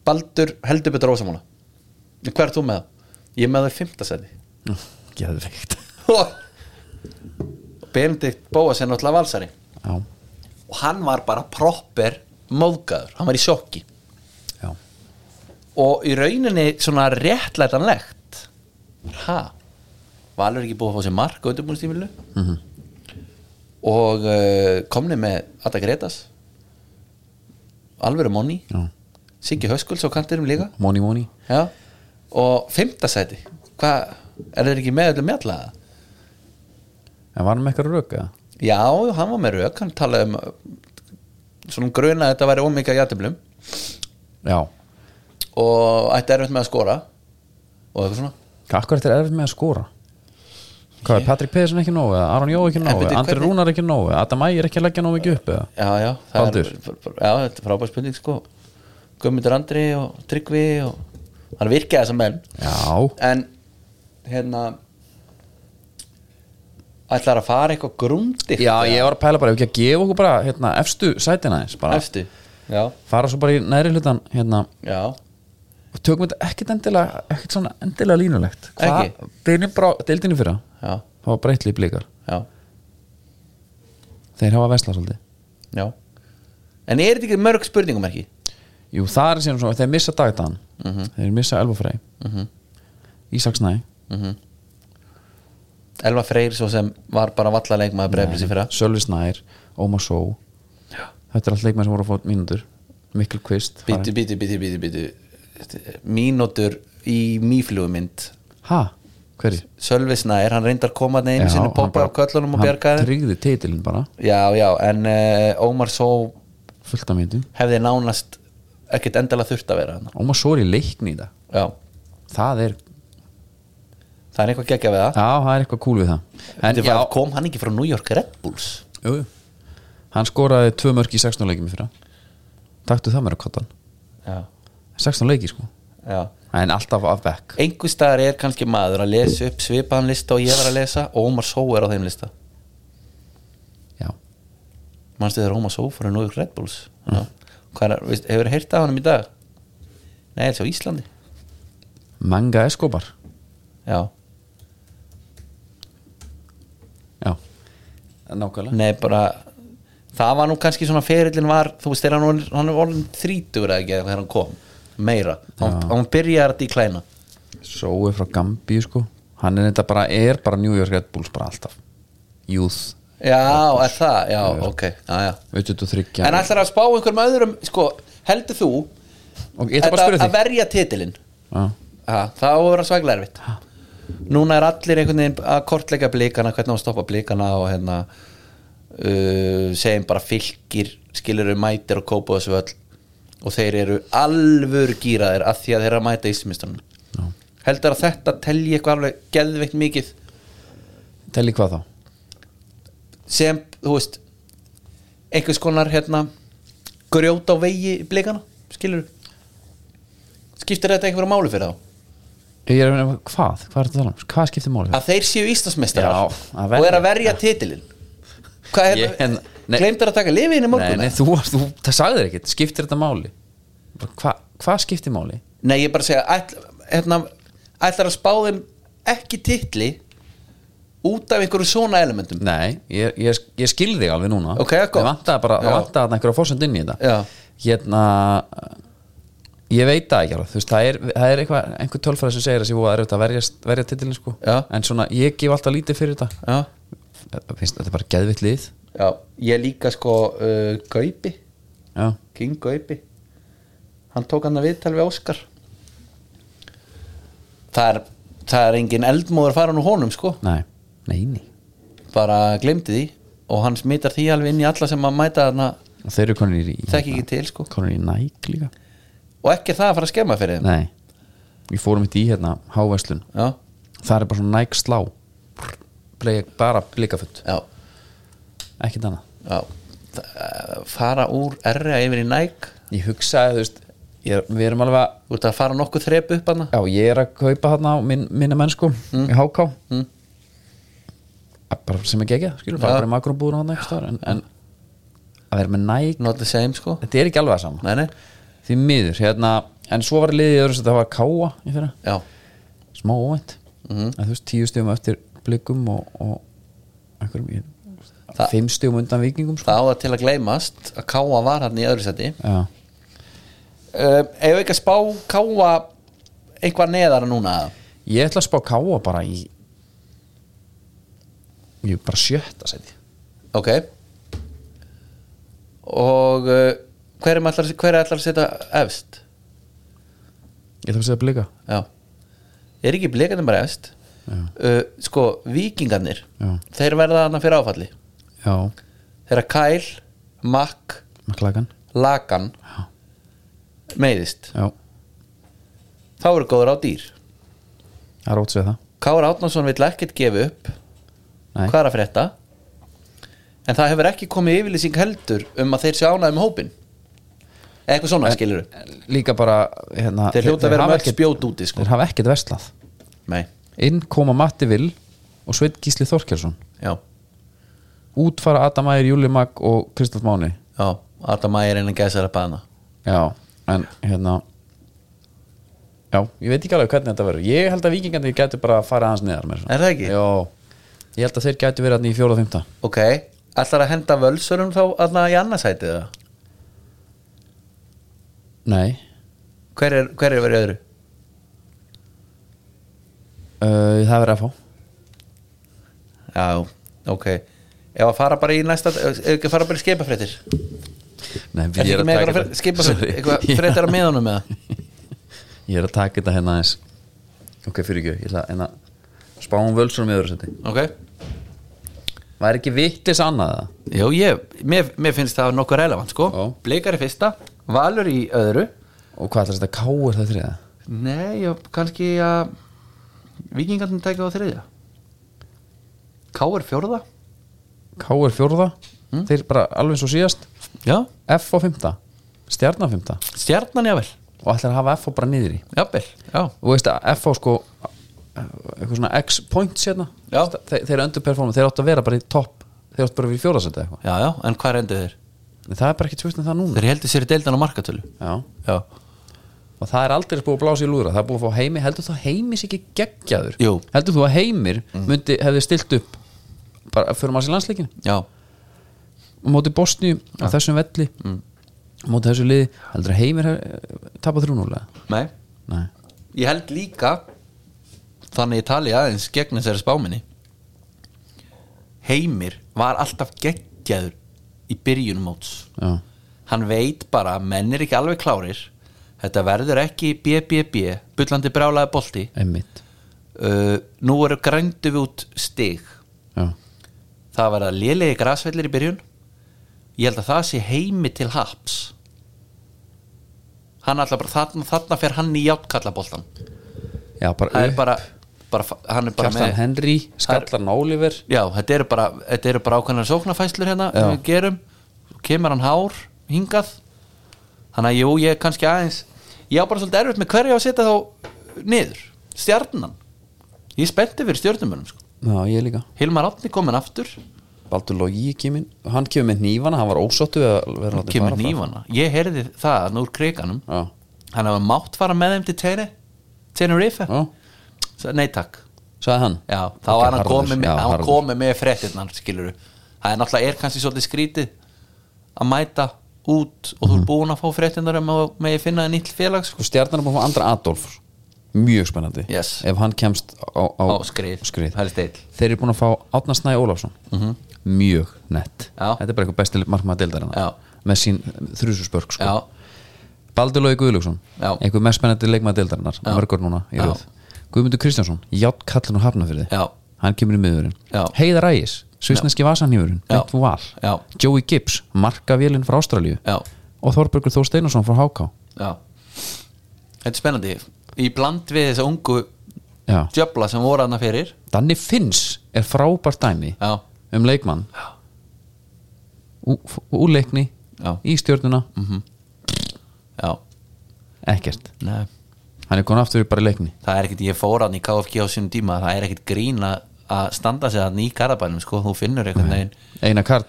Baldur heldur betur ósamála Hver er þú með það? Ég er með það í fimmtasæti geðveikt Benedikt Bóas er náttúrulega valsari já, og hann var bara proper móðgæður, hann var í sjokki já, og í rauninni svona réttlætanlegt ha Valur er ekki búið að fá sér mark á undirbúinstímilinu Mhm. -hmm. og uh, komni með Atta Gretas Alvöru Monni já, Siggi Höskuls á kantinum líka money money Já. og fimmtasæti hvað, er þeir ekki með öllu mjalla en var hann með eitthvað röka? já, já, hann var með rauk, hann talaði um uh, svona um gruna að þetta væri ómikið játtöflum já, og ætti erfitt með að skora og eitthvað svona hvað er þetta erfitt með að skora? hvað er Patrick Pedersen ekki nógu eða Aron Jó ekki En nógu byrju, eða Andri hvernig- Rúnar ekki nógu eða Adam Ægir ekki að leggja nógu mikið upp eða já, já, það Baldur. er, já, þetta er frábær spurning sko Guðmundur Andri og Tryggvi og hann virkaði þessa menn já, en hérna ætlar að fara eitthvað grúndi já, ég var að pæla bara ef ekki að gefa okkur bara hérna, efstu sætina eins bara efstu já, fara svo bara í næri hlutan hérna já, og tökum þetta ekkert endilega ekkert svona endilega línulegt hvað, Ekki? deilin bara, deildinu fyrra já, það var breytlið blikar, já, þeir hafa vesla svolítið já en er þetta ekki mörg spurningum ekki? jú, það er síðan svona, þeir missa dagdagan þeir missa Elfafrey mm -hmm. Ísaksnæ, Elva Freyr svo sem var bara valla leikmaður breyflis í fyrra Sölvi Snær Ómar Só þetta er allt leikmenn sem voru að fá mínútur Mikkel Kvist bítu, bítu, bítu, bítu, bítu mínútur í mýflugumynd ha, hverju? Sölvi Snær, hann reyndar koma neinu sinni poppa á köllunum og bjargaði hann tryggði titilin bara, Já, já, en uh, Ómar svo fullt af myndum hefði nánast ekkert endala þurft að vera hann Ómar Só er í leikni í það Já, það er, það er eitthvað geggja við það já, það er eitthvað cool við það en Þetta já, var, kom hann ekki frá New York Red Bulls Jú, jú. hann skoraði tvö mörg í 16 leikjum í fyrra taktu það mér að kottan Já, 16 leiki sko, já en alltaf af back Einhver staðar er kannski maður að lesa upp svipaðan lista og ég var að lesa og Ómar Só er á þeim lista já, Manstu þegar Ómar Só frá New York Red Bulls Já, Hvað er, veist, hefur heyrt af hann í dag? Nei, þessi á Íslandi manga eskobar Já, já, nákvæmlega nei bara Það var nú kannski svona ferillin var Þú veist, þegar hann var- hann var orðin þrítugur eða ekki eða þegar hann kom Meira, hann, hann byrjar að díklæna Sói frá Gambíu sko hann er þetta bara, er bara New York Red Bulls bara alltaf, youth Já, er það, já, ok já, já. 23 En ætlar að spá einhverjum öðrum sko, heldur þú og ég ætla bara að þetta spyrja að þig verja titilinn Já. ha, Það á að vera svæglega erfitt Núna er allir einhvern veginn að kortleika blikana hvernig á að stoppa blikana og hérna uh, segjum bara fylgir skilur mætir og kópa þessu öll og þeir eru alvöru gýraðir af því að þeir eru að mæta Já. íslumistunum Heldur að þetta telji eitthvað alveg geðveikt mikið telli hvað þá, sem, þú veist einhvers konar hérna grjóta á vegi blikana skilur skiptir þetta einhverja máli fyrir þá ég er að meina hvað, hvað er þetta að tala um hvað skiptir máli að þeir séu Já, Íslandsmeistarar að og verja. er að verja titilin hvað er Ég- en- nei. gleymdir að taka lifiðin í nei, morgun nei, þú, þú, það sagðir ekkert, skiptir þetta máli Bara hvað, hvað skiptir máli nei, ég er bara að segja ætl, hérna, ætlar að spá þeim ekki titli út af einhverju svona elementum Nei, ég, ég, ég skil þig alveg núna Ok, gott. Ég vantaði bara, Já. það vantaði að einhverja fórsönd inn í þetta Já. Hérna ég veit það ekki alveg, þú veist, það er, það er eitthvað, einhver tölfræði sem segir að sé voða erfitt að verja, verja titilin sko, Já. en svona, ég gef alltaf lítið fyrir þetta já, Það finnst, þetta er bara geðvitt lið já ég líka sko uh, Gaupi, já, King Gaupi hann tók hann að viðtal við Óskar það er það er engin eldmóður farin úr honum sko nei, nei, nei bara glemdi því og hann smitar því alveg inn í alla sem að mæta þarna og þeir eru konir í, þekki ekki til sko konir í næk líka og ekki er það að fara að skemma fyrir þeim nei, ég fórum eitt í hérna hávæslun, já, það er bara svona næk slá Ble- bara blikaföld, já, ekkert annað já Þa- fara úr erra yfir í næk ég hugsaði, þú veist, ég, við erum alveg að þú ert að fara nokkuð þrep upp hana Já, ég er að kaupa þarna á minn, minna menn sko í HK Mm. Að bara sem ekki ekki, skilur, Já. bara bara makróbúður á þarna ekki star, en, en að vera með næg not the same sko þetta er ekki alveg það sama nei, nei, því miður, hérna, en svo var liðið í öðru sem það var Káa í fyrra, já, smá óvænt Mhm. en þú veist, tíu stjum eftir blikum og, og einhverjum ég, Það- fimm stjum undan vikingum sko. það á það til að gleymast að káa var hann í öðru seti Já, um, eigum við ekki að spá káa eitthvað neðara núna eða? ég ætla að spá Káa bara í ég bara sjötta seti ok og uh, hver er allar, hver er allar að setja efst ég ætla að segja blika já er ekki blikarnir bara efst uh, sko, vikingarnir Já. þeir verða þarna fyrir áfalli Já, þeirra Kyle, Mack, maklagan Lagan Já. meiðist Já þá eru góður á dýr Það er ótsveið það Kára Átnason vill ekkert gefa upp Nei. hvað er að frétta en það hefur ekki komið yfirlýsing heldur um að þeir séu ánægum með hópin Eða eitthvað svona skilur Líka bara hérna, Þeir hljóta að vera hafa með öll ekkert- spjót úti, sko. Þeir hafa ekkert verslað nei, Inn koma Matti Vill og Sveit Gísli Þorkjarsson já, Út fara Adam Ægir, Júli Mag og Kristoff Máni já Adam Ægir innan gæsar að bana Já, en hérna Já, ég veit ekki alveg hvernig þetta verður Ég held að vikingandi gætu bara að fara aðeins neðar mér. Er það ekki? Já, ég held að þeir gætu verið þarna í fjóra og fymta ok, ætlar að henda völsurum þá aðna í annarsætið það Nei hver er, hver er verið öðru? uh, Það verður að fá Já, ok Ef að fara bara í næsta ef ekki að fara bara í skipafréttir Nei, Er ekki með eitthvað skipafréttir eitthvað fréttir að meðanum með það Ég er að taka þetta hérna aðeins Ok, fyrir ekki, ég ætla að hérna Spáum völsunum í öðru seti Ok Væri ekki vittis annað það? Jó, ég, mér, mér finnst það nokkuð relevant sko Já. Blikar í fyrsta, Valur í öðru Og hvað ætlar þetta káur það þriða? Nei, já, kannski að Víkingarnir tækja á þriðja Káur fjórða Káur fjórða Þeir bara alveg eins og síðast Já, F á fymta Stjarnan fymta stjarnan jável Og ætlar að hafa F á bara niður í Jável, já, Og veist að F á sko Eitthvað svona X points hérna Já. Þeir, þeir underperforma Þeir áttu að vera bara í topp Þeir áttu bara að vera í fjóðarsæti eitthvað já, já, en hvað rendu þeir? En það er bara ekki tvist en það núna Þeir heldur sér í deildan á markatölu Já Já, Og það er aldrei búið að blása í lúðra Það er búið að fá heimi Heldur þú að heimis ekki geggjaður? Jú. Mhm. Heldur þú að heimir myndi hefði stilt upp Bara fyrir maður sér landsleikin? já, á móti Bosníu á þessum velli Mhm. á móti þessu liði heldur að heimir tapa þrjúnulega nei nei, Ég held líka Þannig ég tali aðeins gegn þessari spáminni Heimir var alltaf geggjaður í byrjunum móts já, Hann veit bara að menn er ekki alveg klárir Þetta verður ekki BBB Bullandi brálaði bolti einmitt uh, Nú eru grændu við út stig já, Það verða lélegi grasvellir í byrjun Ég held að það sé heimi til haps Hann alltaf bara þarna, þarna fer hann í játkallaboltan já bara, Það er bara, bara fa- Hann er bara Kjartan með Henry, Skallan Oliver Já, þetta eru bara, þetta eru bara ákveðnar sóknarfæslur hérna Já. sem við gerum, Svo kemur hann hár hingað, þannig að jú ég er kannski aðeins, ég á bara svolítið erfitt með hverja að setja þá niður stjarnan, ég er spennti fyrir stjörnumunum sko, já, ég líka Hilmar Átni komin aftur Baldur Logi kemur, hann kemur með nýfana hann var ósáttu við að vera hann látinn kemur fara frá. nývana, ég heyrði það hann úr kriganum, já, hann hafa mátt fara með þeim til Tene, Tenerife já, Svo, nei takk, sagði hann já, þá Ok, var hann Harður, komið já, með, hann Harður. komið með frettirnar skiluru, það er náttúrulega er kannski svolítið skrítið að mæta út og þú Mhm. ert búin að fá fréttinnar um að megi finna þér nýtt félags sko. sko stjarnan er búin að fá andra Adolf mjög spennandi Yes. ef hann kemst á, á, á skrið, það er steil þeir eru búin að fá Átna Snæ Ólafsson -hmm. mjög nett Já. þetta er bara eitthvað besti markmaða deildarina Já. með sín þrjususbörg sko. já, Baldur Lói Guðlöksson Já. einhver mest spennandi leikmaða deildarinnar mörgur núna í Já. röð Guðmundur Kristjánsson, Játt Kallin og Hafnafyrði Já. hann kemur í miðurinn Já. Heiðar Ægis, svisneski vasanhýfurinn Já. Bent Val, Já. Joey Gibbs markavélinn frá Ástralíu Já. og Þorbergur Þór Steinarsson frá Háká já þetta er spennandi í bland við þessa ungu Já. djöfla sem voru hana fyrir Danni Finns er frábært dæmi já, um leikmann Ú- f- úr leikni Já. í stjórnuna já, ekkert, nei hann er komin aftur bara í leikni það er ekkert, ég fór hann í KFG á sínum tíma það er ekkert grín að- að standa sig hann í garabænum, sko, þú finnur einhvern veginn Einar Karl,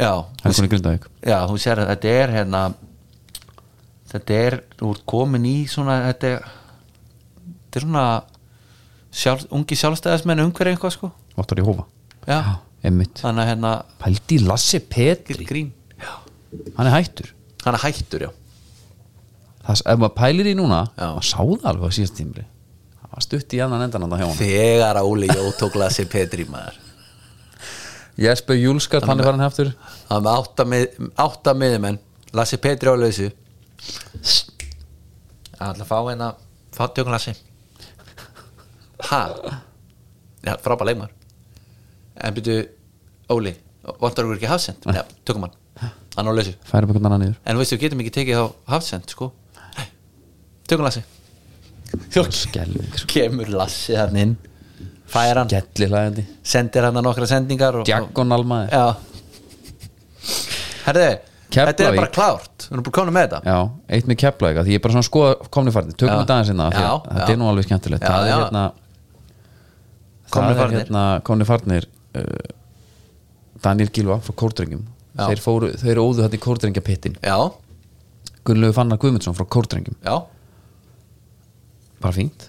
já, hann er komin í Grindavík já, þú sér að þetta er hérna þetta er, þú ert komin í svona, þetta er þetta er svona sjálf, ungi sjálfstæðismenn umhverju eitthvað, sko Óttar í Hófa, já, emmitt þannig að hérna Pældi í Lasse ekkert Petri grín, hann er hættur hann er hættur, já það, ef maður pælir í núna Já. maður sá það alveg á síðast tímri það var stutt í annan endan andan hjá hann þegar að Óli Jó tók lasi Petri maður Jesper Júlskart, hann er farin aftur það var með átta, mið, átta miðumenn Lassi Petri á lausu Það ætla að fá hérna fá tjókun Lassi ha já, frábæð leikmar en byrju, Óli vantar okkur ekki hafsend, já, tökum hann hann á lausu, færi upp einhvern annan niður en veistu, við getum ekki tekið þá hafsend, sko Nei. tökum Lassi Svo skelving, sko. kemur Lassi hann inn fær hann, gellilægandi sendir hann að nokkra sendingar og, diagonal maður Já Herði, þetta er Keflavík. bara klárt Við erum bara komin með þetta Já, eitt með keflaðika því ég er bara svona að skoða komni farnir tökum Já. við daginn sinna Já, þetta hérna, já. er nú alveg skemmtilegt Já, það er já. hérna Komnir það er farnir. hérna komni farnir uh, Daniel Gilva frá Kórdrengjum Já. þeir, fóru, þeir óðu þetta í Kórdrengjapittin Já, Gunnlegu Fannar Guðmundsson frá Kórdrengjum já, bara fínt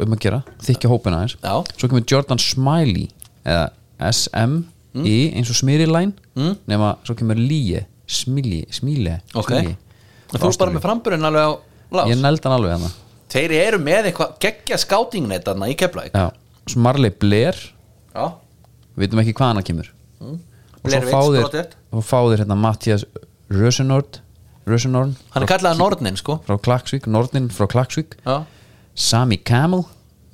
um að gera þykja hópina aðeins Já. svo kemur Jordan Smiley eða SM í eins og smyrilæn mm. nema svo kemur Líe Smilje Smilje ok En Þú er bara með framburinn alveg á lás ég nældi hann alveg hérna. hann Þeir eru með eitthvað geggja skátingnet þarna í Keflavík Já, svo Marley Blair Já, við veitum ekki hvað hann kemur og svo Blair fá Witch þeir, Project. og fá þeir hérna Mattias Rösenord Rösenord hann er kallaðið Nornin sko frá Klaksvík, Nordnin frá Klaksvík Já, Sami Kamel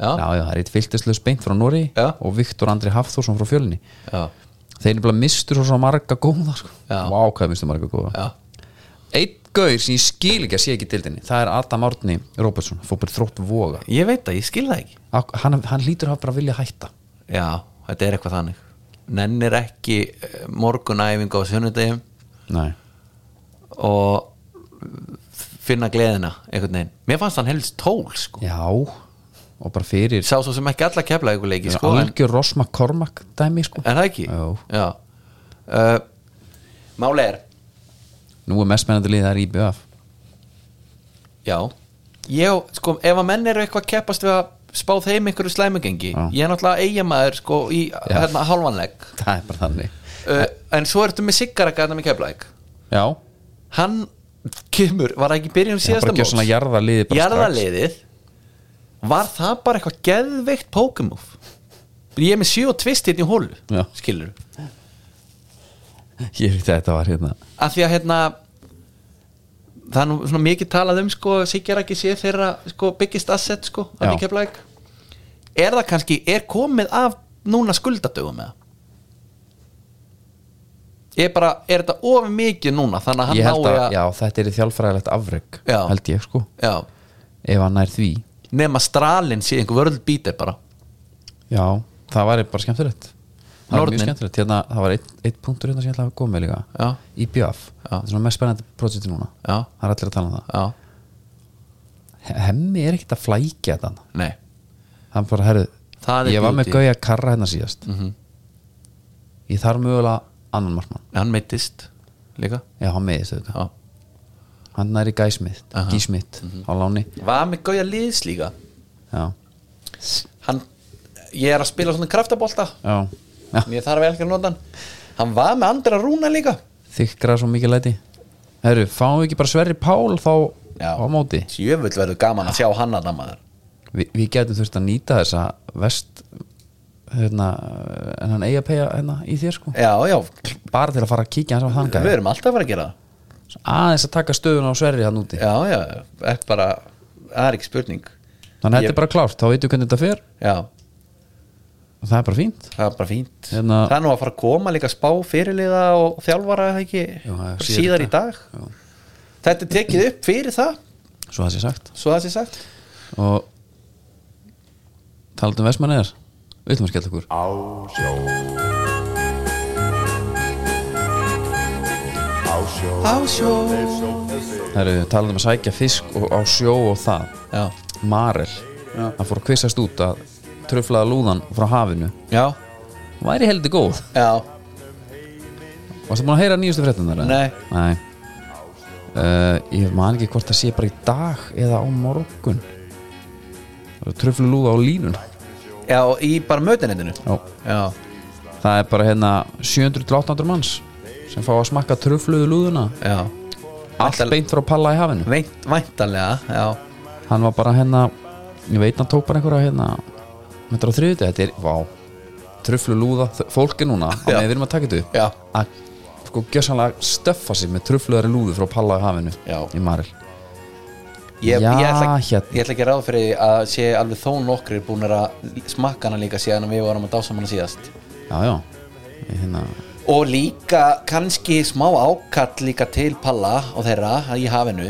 Já. já, það er eitt fylgtislaus beint frá Nóri Já. og Viktor Andri Hafþórsson frá Fjölni já, þeir eru bara mistur svo marga góða sko. Já. Vá, hvað mistur marga góða já Einn gaur sem ég skil ekki að sé ekki í dildinni það er Adam Árni Róbertsson fótbol þrótt voga Ég veit það, ég skil það ekki Ak- hann, hann lítur að hafa bara vilja hætta Já, þetta er eitthvað þannig Nennir ekki eh, morgunæfingu á sunnudegum Nei. og finna gleðina einhvern veginn Mér fannst hann helst tól sko já, og bara fyrir sá svo sem ekki alla kefla ykkur leiki sko, sko, en, algjör Ross McCormack dæmi sko. en það ekki Jó. Já. Uh, máli er nú er mest spennandi lið það er IBF já ég, sko, ef að menn eru eitthvað keppast við að spá þeim einhverju slæmugengi Já. ég er náttúrulega eiginmaður sko í hérna, hálfanleik það er bara þannig uh, en svo ertu með Siggaraka þetta með keflaðik já, hann kemur, var það ekki í það er byrjun bara síðasta ekki svona móts jarða liði bara strax. jarðaliðið var það bara eitthvað geðveikt Pokémon ég er með 7 og tvist hérna í hólu Já. skilur ég veit að þetta var hérna að því að hérna það er nú svona mikið talað um sko, Sigjarakki sé þeirra sko, biggest asset sko, Já. að ekki að blæk er það kannski, er komið af núna skuldadögum með er bara, er þetta of mikið núna þannig að ég hann held nái að, að já, þetta er þjálfræðilegt afreg Já. held ég sko, já, ef hann nær því nema stralin sé einhver vörld bítir bara já, það var bara skemmtilegt það var Nornin. mjög skemmtilegt, hérna, það var eitt, eitt punktur hérna sem ég ætla að koma með líka Já. IBF, Já. þetta er svona mest spennandi projekti núna Já. það er allir að tala um það já, He- hemmi er ekkert að flækja þetta nei hann bara, herru, Það er Mhm. ég var með beauty. gauja karra hérna síðast ég þarf mögulega annan markmann, hann meittist líka já hann meðist þetta já. hann er í gæsmitt, Aha. Mhm. gísmitt á láni, var með gauja liðs líka já, hann, ég er að spila svona kraftabolta já, já. Mér þarf ekki að nota hann Hann var með Andra Rúna líka þykra svo mikið læti Herru, fáum við ekki bara Sverri Pál þá Já. á móti Sjöfull verður gaman að sjá hann að maður Vi, Við getum þurft að nýta þessa vest hérna, en hann eiga peyja hérna, í þér sko Já, já, bara til að fara að kíkja hans á þanga við erum alltaf að fara að gera það aðeins að taka stöðuna á Sverri hann úti Já, já, ekki bara það er ekki spurning þannig að Ég- þetta er bara klárt, þá veitum við hvernig þetta fer Já, og það er bara fínt það er bara fínt Hérna- Það er nú að fara að koma líka spá fyrirliða og þjálfara er það ekki Jú, það er síðar síðar í í dag Þetta er tekið upp fyrir það svo það sé sagt svo það sé sagt og talað um vestmanniðar við ætlum að skella okkur Á sjó Á sjó Á sjó Herru, talað um að sækja fisk og, á sjó og það Já, Marel, Já. hann fór að kvissast út að tröflaða lúðan frá hafinu já, væri heldur góð já, Varstu búin að heyra nýjustu fréttunar? Nei. Nei. Uh, Ég man ekki hvort það sé bara í dag eða á morgun Tröflu lúða á línun já í bara mötunendinu Já. Já, Það er bara hérna 700-800 manns sem fá að smakka tröfluðu lúðuna já Allt beint frá palla í hafinu Veint, Væntanlega, já Hann var bara hérna Ég veit hann tók bara einhverja hérna Þetta er á þriðutu, þetta er, vá Tröflu lúða, fólk er núna á Já. meðan Við erum að taka þetta upp Já. að sko gjössanlega stöffa sig með tröfluðari lúðu frá palla í hafinu Já. í Marel Ég, Já, ég, ætla, hérna. ég ætla ekki ráð fyrir því að sé alveg þó nokkrir búin að smakka hana líka síðan að við varum að dása um hana síðast Já, já Ég hérna, og líka kannski smá ákall líka til Palla og þeirra í hafinu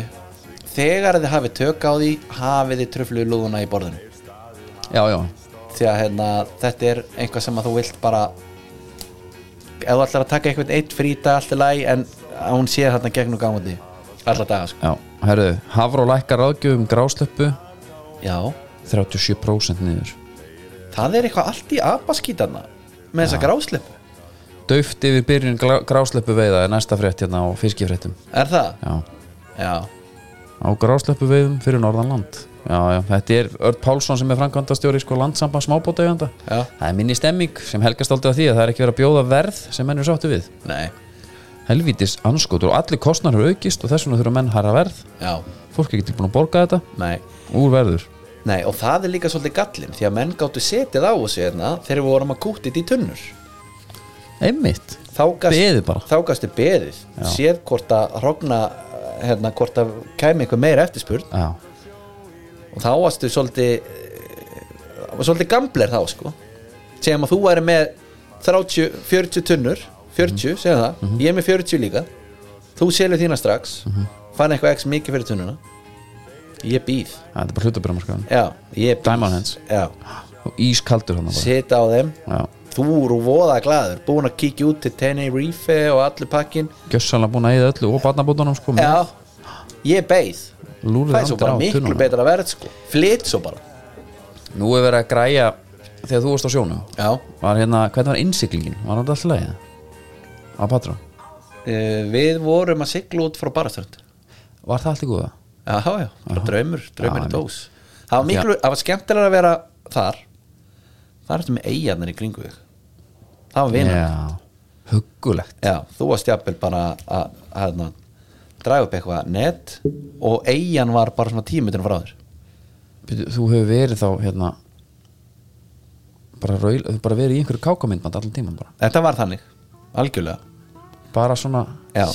þegar þið hafið tök á því hafið þið tröflu lúðuna í borðinu Já, já, því að hérna, þetta er einhvað sem að þú vilt bara ef þú ætlar að taka einhvern eitt fríta allt í lagi en að hún sé þarna gegn og gáðandi alla daga sko. já Herðu, Hafró lækkar ráðgjöfum gráslöppu já, 37% niður það er eitthvað allt í apaskítanna með þessa grásleppu Dauft yfir byrjun gráslöppu veiða er næsta frétt hérna á fiskifréttum er það? Já, já, á gráslöppu veiðum fyrir Norðanland Já, já, þetta er Örn Pálsson sem er framkvæmdastjóri sko landsamband smábótauganda Já. Það er minni stemming sem helgast aldrei að því að það er ekki verið að bjóða verð sem menn eru sáttu við nei, Helvítis anskotur og allir kostnar eru aukist og þess vegna þurfa menn hæra verð já, Fólk er ekki tilbúin að borga þetta nei úr verður Nei, og það er líka svolítið gallin því að menn gáttu setið á þessu hérna þegar við vorum að kútið í tunnur Einmitt, þá gast, Beðið bara. þá gastu beðið séð hvort að hrogna hérna, hvort að kæmi einhver meira eftirspurn já og þá varstu svolítið eh, var svolítið gambler þá sko segjum að þú væri með 30, 40 tunnur 40, segjum það, ég er með 40 líka þú selur þína strax fann eitthvað x mikið fyrir tunnuna ég býð Það er bara hlutabrjámarskaðan já, ég býð Diamond hands. já, og ískaldur hann bara sita á þeim Já, þú eru voða glæður búin að kíkja út til Tenerife og allir pakkin gjössalega búin að eyða öllu og barnabótunum sko með já, ég beið lúrið það er svo andra bara á miklu tunnuna. betra verð sko flyt svo bara Nú er verið að græja þegar þú varst á sjónu já, var hérna, hvernig var innsiklingin? Var hann alltaf leið? Á patrón? uh, við vorum að sigla út frá Baraströnd Var það allt í góða? já, já, bara draumur, Já, draumur í dós það var miklu, það var skemmtilega að vera þar það er þetta með eigarnir í kringu þig það var vinnan Já, huggulegt já, þú varst jafnvel bara að, að, að draga upp eitthvað net og eigan var bara svona tímitunum frá þér Bíddu, Þú hefur verið þá hérna bara, raul, þú hefur bara verið í einhverju kákamyndband allan tíman bara þetta var þannig, algjörlega bara svona Já,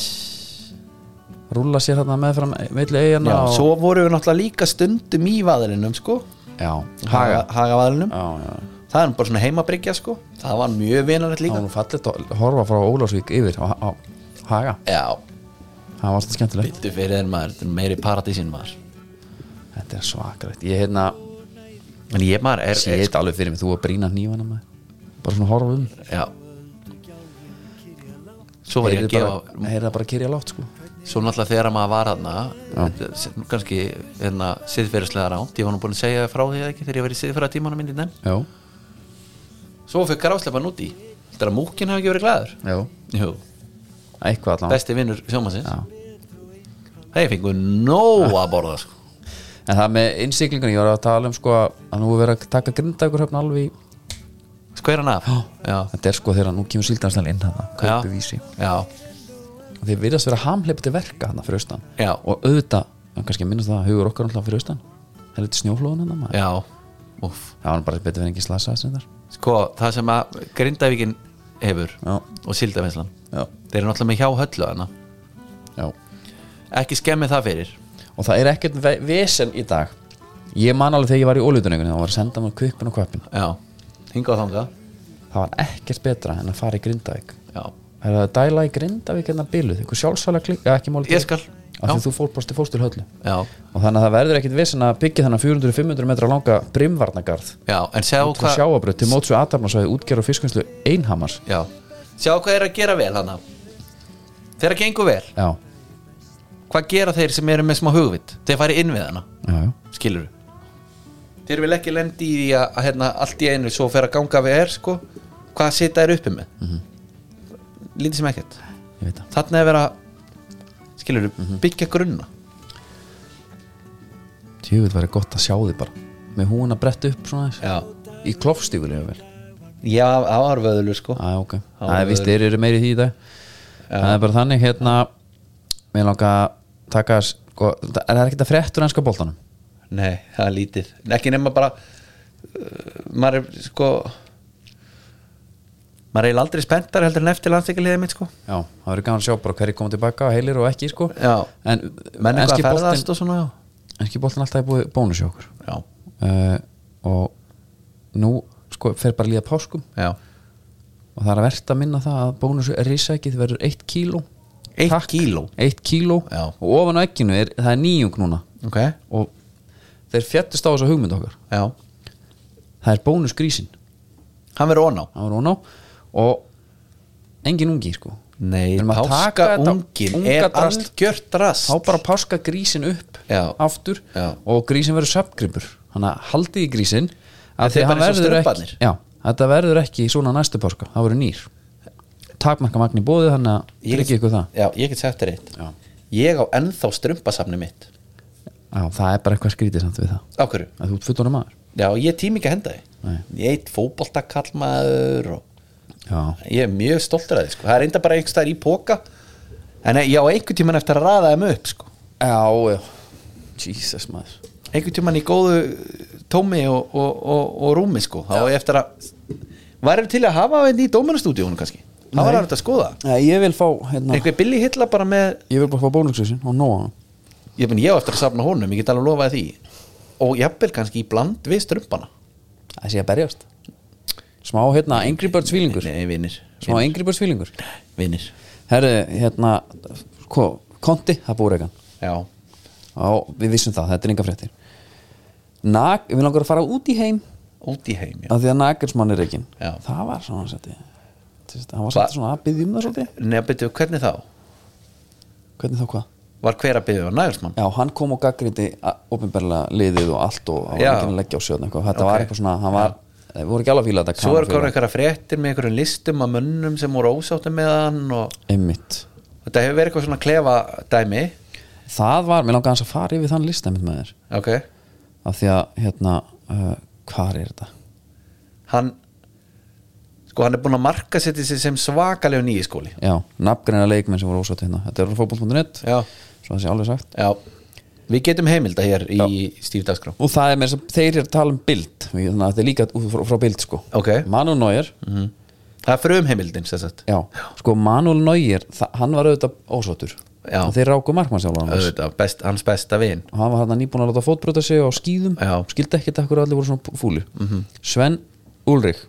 rúla sér hérna meðfram meðli eigana já og... svo voru við náttúrulega líka stundum í vaðalinum sko já, haga Hagavaðalinum Já, já, Það er nú bara svona heimabryggja sko Það var mjög vinanlegt það líka var nú fallið að horfa frá Ólásvík yfir á, á haga Já, það var alltaf skemmtilegt byttu fyrir þeir maður Þetta er meiri paradísin maður Þetta er svakrætt Ég hérna En ég maður er, Ég er heit alveg fyrir mig Þú að brína nývana með Bara svona horfa um Já Svo var ég að Heyrðu gefa bara Heyrðu það bara að kyrja látt sko Svo náttúrulega þegar maður var hana þetta er nú kannski hérna, siðferðislega ránt Ég var nú búin að segja frá því eða ekki Þegar ég var í siðferða tímanum minni nefn Já Svo fyrir gráslepan út í Þetta er að múkin hafi ekki verið glæður Já Jú, Eitthvað allan besti vinnur sjómasins Já. Þeir fengu nóg að borða sko. En það með innsiklingun Ég var að tala um sko Að nú er verið að taka grindagur höfn alveg í- Skveran af Já, Þetta er sko þegar nú kemur síldanstæl inn hana Já. Kaupi vísi já, Og þeir virðast vera hamhleip til verka hann fyrir austan Já. og auðvitað, hann kannski að minnast það að hugur okkar alltaf fyrir austan það er litur snjóflóðun hann maður Já, úff það var nú bara betur fyrir ekki slasaðist reyndar. Sko, það sem að Grindavíkin hefur Já. og Sildavinslan Já. Þeir eru náttúrulega með hjá höllu hana Já. Ekki skemmi það fyrir og það er ekkert ve- vesen í dag ég man alveg þegar ég var í ólítuningunni þá var að senda mér kvipin og kvöpin Já, hingað þanga það var ekkert betra en að fara í Grindavík Já, Það er að dæla í Grindavík hérna en að byluð ykkur sjálfsvæla klikka ekki máli Ég skal. af því Já. þú fór bara til fórstu höllu já, og þannig að það verður ekkit vissin að byggja þannig 400-500 metra langa brimvarnagarð já En sjáu og hvað sjáabröð til mótsu aðdarnasvæði útgerð og fiskvinnslu einhamars Já, sjáu hvað er að gera vel hana Þeirra gengur vel já, Hvað gera þeir sem eru með smá hugvit Þeir fari inn við hana, já, já, skilur Þeir vil ekki lendi í því að, að hérna, allt í einu svo fer að ganga við er sko, hvað sita er uppi með lítið sem ekkert ég veit það þarna er verið að skilur byggja grunna tjöfull verður gott að sjá því bara með hún að bretta upp svona þess já, í klofstígulega vel já áarvöðulu sko Æ, ok, Já, það er víst við- þeir eru meiri í því í dag það er bara þannig hérna mér langa að taka sko, það er ekkert að fréttur ennska boltanum nei, það er lítið ekki nema bara uh, maður er sko maður er aldrei spenntar heldur en eftir landsleikarliðið mitt sko Já, það verður gaman að sjá bara hverju komið tilbaka og heilir og ekki sko Já. En menn enski eitthvað að ferðast boltinn og svona já, Enski boltinn alltaf er búið bónus hjá okkur já, uh, Og nú sko fer bara að líða páskum já. Og það er að verðt að minna það að bónus risækið verður 1 kíló Eitt Takk. kíló? Eitt kíló Já. Og ofan á ekkinu er, það er nýjung núna ok Og þeir fjattist á þessu hugmynd okkar já. Það er bónus grísin hann verður oná Það var hún á Og engin ungi sko nei, Við erum að taka páska þetta ungin unga er drasl. algjört rast þá bara páska grísin upp Já. aftur Já. og grísin verður söpgripur þannig að haldið í grísin Þetta er bara eins og strumparnir. ekki, já, þetta verður ekki svona næstu páska, það verður nýr takmarka magni bóði þannig að tryggja ykkur það já, ég get sagt þér eitt Já. ég á ennþá strumpasafni mitt já, það er bara eitthvað skrítið samt við það á hverju? að þú ert fullorðin maður Já, ég tím ekki að henda Nei. því Ég eitt fótboltakallmaður og já, ég er mjög stoltur að því sko. Það er enda bara einhvers staðar í póka En ég á einhvern tímann eftir að raða þeim upp sko. já, já Jesus maður Einhvern tímann í góðu tómi og, og, og, og rúmi sko. Þá á ég eftir að Væri til að hafa henni í dómarastúdíónu kannski Það var Nei. hægt að skoða Nei, ég vil fá hérna, Einhver billi hitla bara með ég vil bara fá bónusgrísin og nóa Ég, meni, ég á eftir að safna honum, ég get alveg lofað því Og jafnvel kannski í bland við strumpana það sé að berjast smá hérna, Angry Birds fílingur Nei, vinir smá Angry Birds fílingur Vinir Herru, hérna ko, Konti, það búið reikann Já, Já, við vissum það, þetta er enga fréttir Nag, við langar að fara út í heim út í heim já. af því að Nagelsmann er reikin Já. Það var svona seti Hann var Hva- svolítið svona að byggja um það svolítið Nei, betur, hvernig þá? Hvernig þá hvað? Var hver að byggja á Nagelsmann? Já, hann kom og gaggrindi ofinberlega liðið og allt og hann var Já. ekki að leggja á sjöðn eitthvað Þetta Ok. var eitthvað svona, hann var Við voru ekki alveg að fíla þetta Svo Kana eru konar fíla. einhverja fréttir með einhverjum listum að mönnum sem voru ósáttum með hann og Einmitt þetta hefur verið eitthvað svona klefa dæmi Það var, mér langar hans að fara yfir þann lista einmitt með þér Ok af því að, hérna, uh, hvar er þetta? Hann Sko, hann er búin að marka setja sig sem svakalega nýi skóli Já, nafngreina leikmenn sem voru ósátt hérna Þetta er fótbolt.net, Já svo það sé alveg sagt Já Við getum heimilda hér í Stíf Dagskrá og það er með þess að þeir eru að tala um bild þannig að þetta er líka út frá, frá bild sko Ok Mm. Manuel Neuer, Það er frum heimildin, sér sagt já, sko Manuel Neuer þa- hann var auðvitað ósóttur Já. og þeir ráku markmannsjálfan hans Auðvitað, best, hans besta vin og hann var hann nýbúin að láta fótbröta sig á skýðum Já. Mhm. skildi ekkert að hverju allir voru svona fúlir -hmm. Sven Ulrich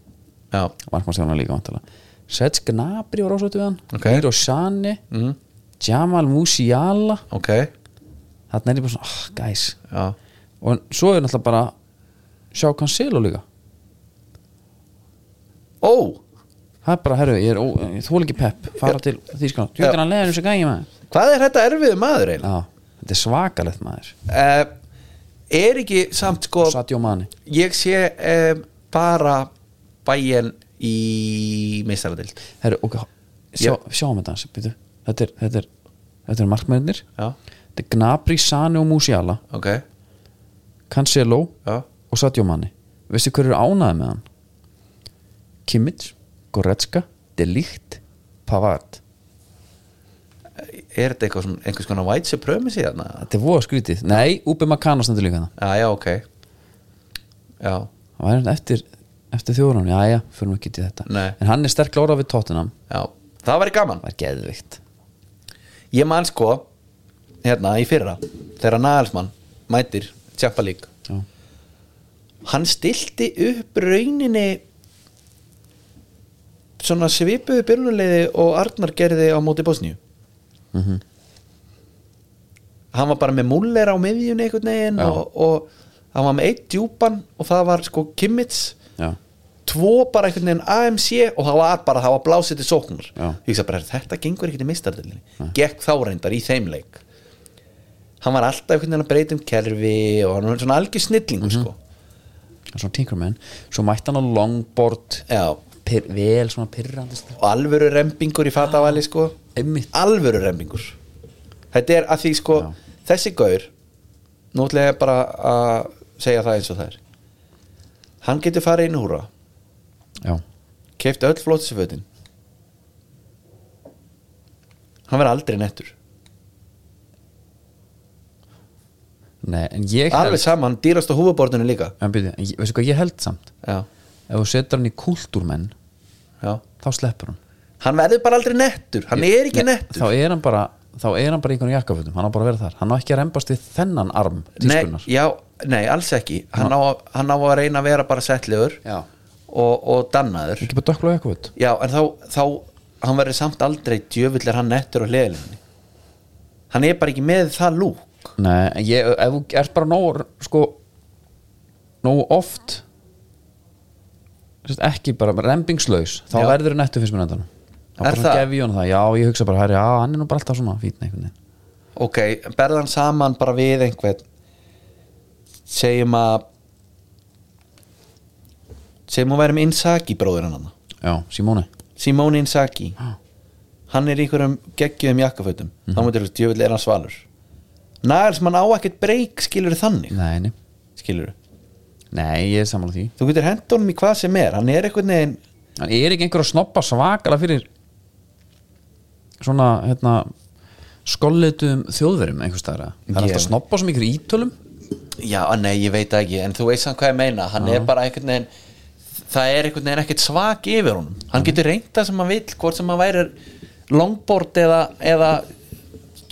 Já markmannsjálfan líka vantala Sets Gnabri var ósóttur við hann Ok. Miro Sani mm. Jamal Musiala Ok þarna er ég bara svona, ah, gæs Já og svo er náttúrulega bara sjá Cancelo líka Ó það er bara, herru, ég er, ó, ég þól ekki pepp fara til Þýskaland, Já. tjókar hann leiðin þessu gæði maður Hvað er þetta erfiðu maður eiginlega? já, þetta er svakalegt maður Uh, er ekki samt sko Sadio Mani ég sé um, bara bæjan í meistaradeild herru, ok, sjá, sjáum þetta hans býtu. þetta er, þetta er, þetta er markmennir já, þetta er Gnabry, Sani og Musiala ok Cancelo já. og Sadio Mani veistu hverju eru ánaði með hann Kimmich, Goretzka De Ligt, Pavard er þetta eitthvað sem einhvers konar white supremacy þarna Þetta er voða skrítið Nei, Ubi Makano stendur líka það já, já, ok já, Það var hérna eftir, eftir þjóðurinn Já, já, fyrir mig getið þetta Nei. En hann er sterk lórað við Tottenham já, það væri gaman Það er geðvikt ég man sko hérna í fyrra þegar Nagelsmann mætir Champa League Já. hann stilti upp rauninni svona svipuðu byrjunarleiði og Arnar gerði á móti Bosníu Mhm. hann var bara með Muller á miðjunni einhvern veginn Já. og, og hann var með eitt djúpan og það var sko Kimmits Já, tvo bara einhvern veginn AMC og það var bara, það var blásið til sóknar Já. ég hugsa bara, þetta gengur ekkert í mistardelinni gekk þá reyndar í þeim leik hann var alltaf einhvern veginn að breyta um kerfi og hann var svona algjör snillingur Mhm. sko. það er svona Tinkerman Svo mætti hann á longboard Já, pyr, Vel svona pyrrandist og alvöru rembingur í fatavali sko. Einmitt alvöru rembingur þetta er að því sko Já. þessi gaur, nú ætla ég bara að segja það eins og það er hann getur farið inn húra Já, keifti öll flótisfötin hann verður aldrei nettur nei, en ég alveg sama, hann dýrast á húfaborðinu líka En byrju, en ég- veistu hvað ég held samt já, Ef þú setur hann í kultúrmenn já Þá sleppur hann hann verður bara aldrei nettur, hann er ekki Nei, nettur Þá er hann bara Þá er hann bara í einhvern jakkafötum, hann á bara að vera þar Hann á ekki að rembast við þennan arm tískunnar nei, já, nei, alls ekki hann á, að- hann á að reyna að vera bara settlegur Já. og, og dannaður Ekki bara dökkla jakkaföt já, en þá, þá hann verður samt aldrei djöfull er hann nettur á hliðlinni hann er bara ekki með það lúk Nei, en ég, ef þú ert bara nóg sko, nóg oft sérst, ekki bara rembingslaus, þá Já. verður það nettu fyrst mér endanum þá Er bara það? gef ég hann það, já, ég hugsa bara herri, já, hann er nú bara alltaf svona fítn einhvern veginn ok, berðan saman bara við einhvern segjum að segjum að verðum Inzaghi bróðurinn hann já, Simone, Simone Inzaghi Já. hann er í einhverjum geggjum jakkafötum þá mútur þú djöfull er hann svalur Nagelsmann á ekkert breyk skilur þannig nei, nei skilur nei, ég er samanlega því, þú getur hent honum í hvað sem er hann er einhvern veginn hann er ekki einhver að snoppa svakala fyrir svona, hérna skolletum þjóðverum einhvers staðar eða? það er Ég- alltaf að snoppa sem ykkur ítölum já, að nei, ég veit það ekki en þú veist hann hvað ég meina hann er bara einhvern veginn það er einhvern veginn ekkert svak yfir honum hann Mhm. getur reynda sem hann vill hvort sem hann væri longboard eða, eða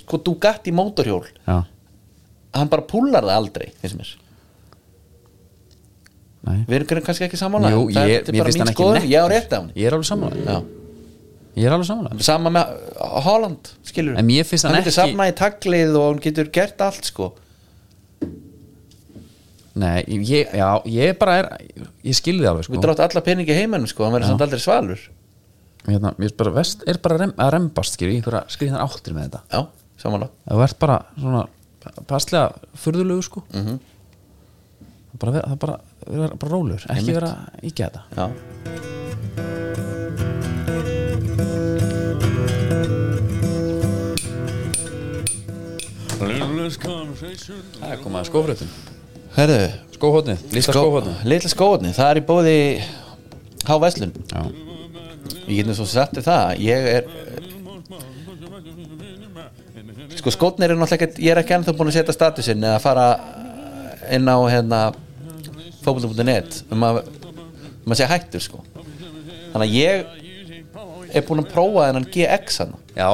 sko Dugatti mótorhjól já, hann bara púlar það aldrei finnst mér nei við erum kannski ekki sammála Jú, það ég, þetta mér finnst mín hann ekki skoðun, nett ég á rétt af hann Ég er alveg samanlega já. Ég er alveg samanlega sama með uh, Holland skilur En mér finnst hann getur ekki- safnað í taglið og hann getur gert allt sko Nei, ég, já, ég bara er Ég skil þið alveg við sko drátt alla peningi heiminum sko hann verður samt aldrei svalur hérna, Ég er bara, vest, er bara rem, að rembast skil Í einhverja skriðan áttir með þetta já, sammála Það verð bara svona Passlega furðulegu sko mm Mhm. -hmm. bara, vera- Það bara, vera bara rólur Ekki vera ekki þetta já Það er komað skófrötum herðu Skóhotnið, lítla Skó- skóhotnið Sko- Litla skóhotni, það er í bóði Há Veslun Já, Ég get nú svo sagt við það Ég er Sko skótnir er náttúrulega ekkert Ég er ekki ennþá búin að setja statusinn eða fara inn á hérna fótbolta.net um að um að segja hættur sko Þannig að ég er búin að prófa þennan GX hann já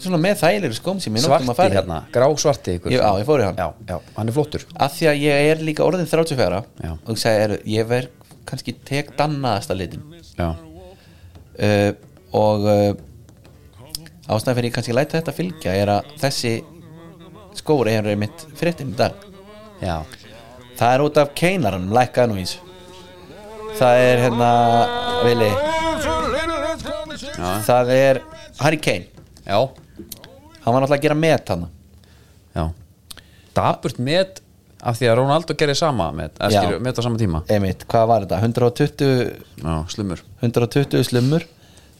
Svona með þægilegri skóm sem ég nóttum að svarti fara í. hérna Grá svarti ykkur Ég- Já, ég fór í hann já, já, hann er flottur að því að ég er líka orðin 34 Já. og ég segi, er, ég verð kannski tek dannaðasta litin Já, uh, og uh, ástæðan fyrir ég kannski læta þetta fylgja er að þessi skóri er mitt fréttin í dag já, það er út af keinaranum, lækkaði nú eins það er hérna Vili það er Harry Kane já. hann var náttúrulega að gera met hann Já Daburt met af því að Ronaldo gerði sama met, eða Já. skilur, met á sama tíma einmitt, hvað var þetta, 120 Já, slumur 120 slumur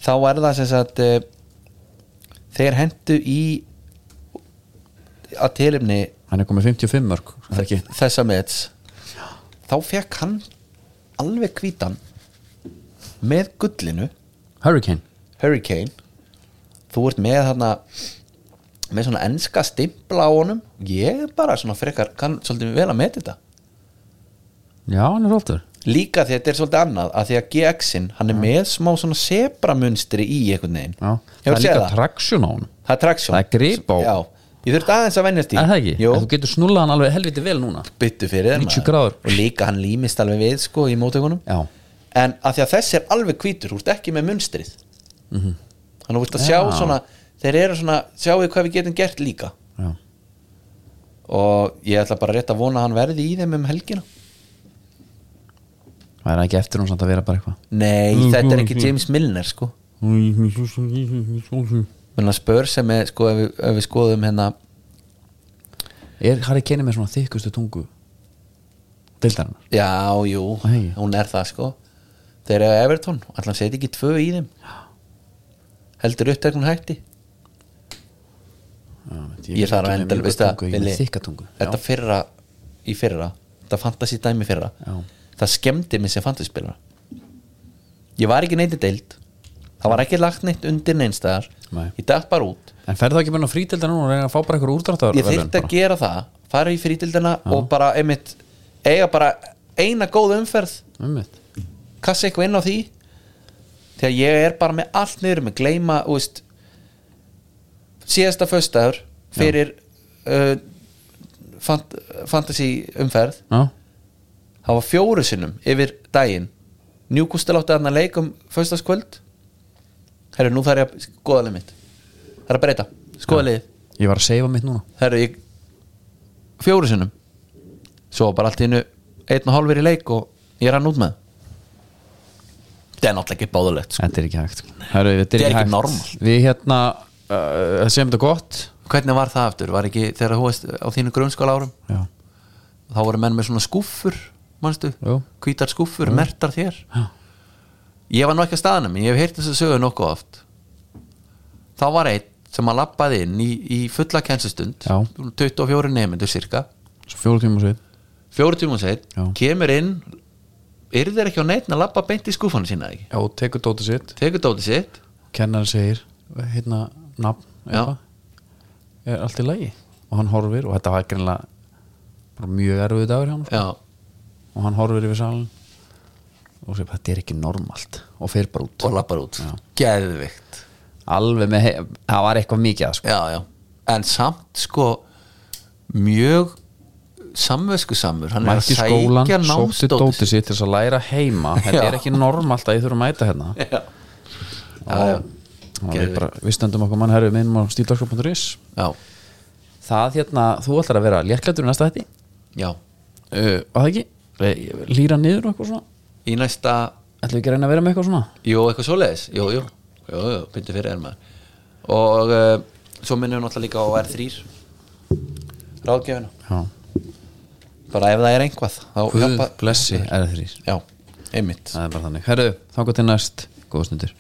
þá er það sem sagt eh, þeir hendu í að tilumni Hann er komið 55 mörg er það ekki? þessa mets þá fekk hann alveg hvítan með gullinu Hurricane Hurricane þú ert með þarna með svona enska stimpla á honum ég er bara svona frekar kann svolítið vel að meti þetta Já, hann er oftur líka því að þetta er svolítið annað að því að GX-in, hann er með smá svona sebramunstri í einhvern veginn Já, það Hefurðu er séð líka það? traksjón á hann það er traksjón Það er grip á. Já, ég þurfti aðeins að venjast í Er það ekki? Jó, En Þú getur snullað hann alveg helviti vel núna byttu fyrir þér 90 maður. gráður. og líka hann límist alveg við sko í mótökunum Já. en að því að þessi er alveg hvítur þú ert ekki með munstrið þannig að þú ert að Já. sjá svona þeir eru svona, sjáu hvað við getum gert líka Já, og ég ætla bara rétt að vona að hann verði í þeim um helgina það er ekki eftir hún samt að vera bara nei, þetta er ekki James Milner sko eitthvað menna spör sem er sko ef við, ef við skoðum hérna Er Harry Kane með svona þykkustu tungu Dildarinnar já, jú, Æ. hún er það sko þeir eru Everton, allan seti ekki tvö í þeim heldur uppteknum hætti ég þarf að enda veistu það, Billy, Þykka tungu þetta fyrra í fyrra, þetta fantasy dæmi fyrra Já. það skemmdi mig sem fantasy spilur ég var ekki neitt í deild það var ekki lagt neitt undir neinstæðar Nei. ég dætt bara út En ferð það ekki bara frítildar núna og reyna að fá bara eitthvað úrdráttar ég þyrfti að gera það, fara í frítildina og bara einmitt eiga bara eina góð umferð gera kassa eitthvað inn á því þegar ég er bara með allt niður með gleyma, þú veist síðasta föstaður fyrir uh, fant fantasy umferð það var fjóru sinnum yfir daginn Newcastle átti þarna leik um föstaskvöld herru, nú þarf ég að skoða leið mitt það er að breyta, skoða leið Ég var að seifa mitt núna herru, ég fjóru sinnum svo bara allt í innu einn og hálfur í leik og ég rann út með það er náttúrulega ekki báðulegt sko. Þetta er ekki hægt Heru, Þetta Þetta er ekki hægt. normal. Við hérna uh, sem þetta gott hvernig var það aftur, var ekki þegar þú veist á þínu grunnskóla árum Já, þá voru menn með svona skúffur manstu, Jú. hvítar skúffur, mertar þér Já. ég var nú ekki að staðanum ég hef heyrt þess að sögu nokkuð oft þá var einn sem að lappaði inn í, í fulla kennslustund Já. 24 nefnendur cirka svo fjóru tíma sveit fjóru tíma seitt, Já. kemur inn eru þeir ekki á neitt að lappa beint í skúfana sína eða ekki, Já, tekur dótið sitt tekur dótið sitt Kennari segir, hérna, nafn Já. eitthvað, Er allt í lagi Og hann horfir og þetta var greinlega bara mjög erfið dagur hjá hann já, og hann horfir yfir salin og segir, þetta er ekki normalt og fer bara út og lappar út, geðvikt Alveg með, he- það var eitthvað mikið að sko já, já. en samt sko mjög samvesku samur hann mætti í er að skólan, sækja sótti námsdóti dótið sitt til þess að læra heima þetta Já. er ekki normalt að ég þurfa að mæta hérna já, já, já. og, og við, Geðveikt. bara, við stöndum okkur mann herfið minnum á stíldorskap.is já, það hérna, þú ætlar að vera léttlættur í næsta hætti já uh, og það ekki, Eh, lýra niður og eitthvað svona í næsta, ætlum við ekki að reyna að vera með eitthvað svona jú, eitthvað svoleiðis jú, jú, jú, jú, pyndi fyrir er maður og uh, svo minnum við náttúrulega líka á R3 ráðgefina já, bara ef það er einhvað þá Guð hjálpa- blessi er það já, einmitt það er bara þannig, herðu, þá gott til næst góða stundir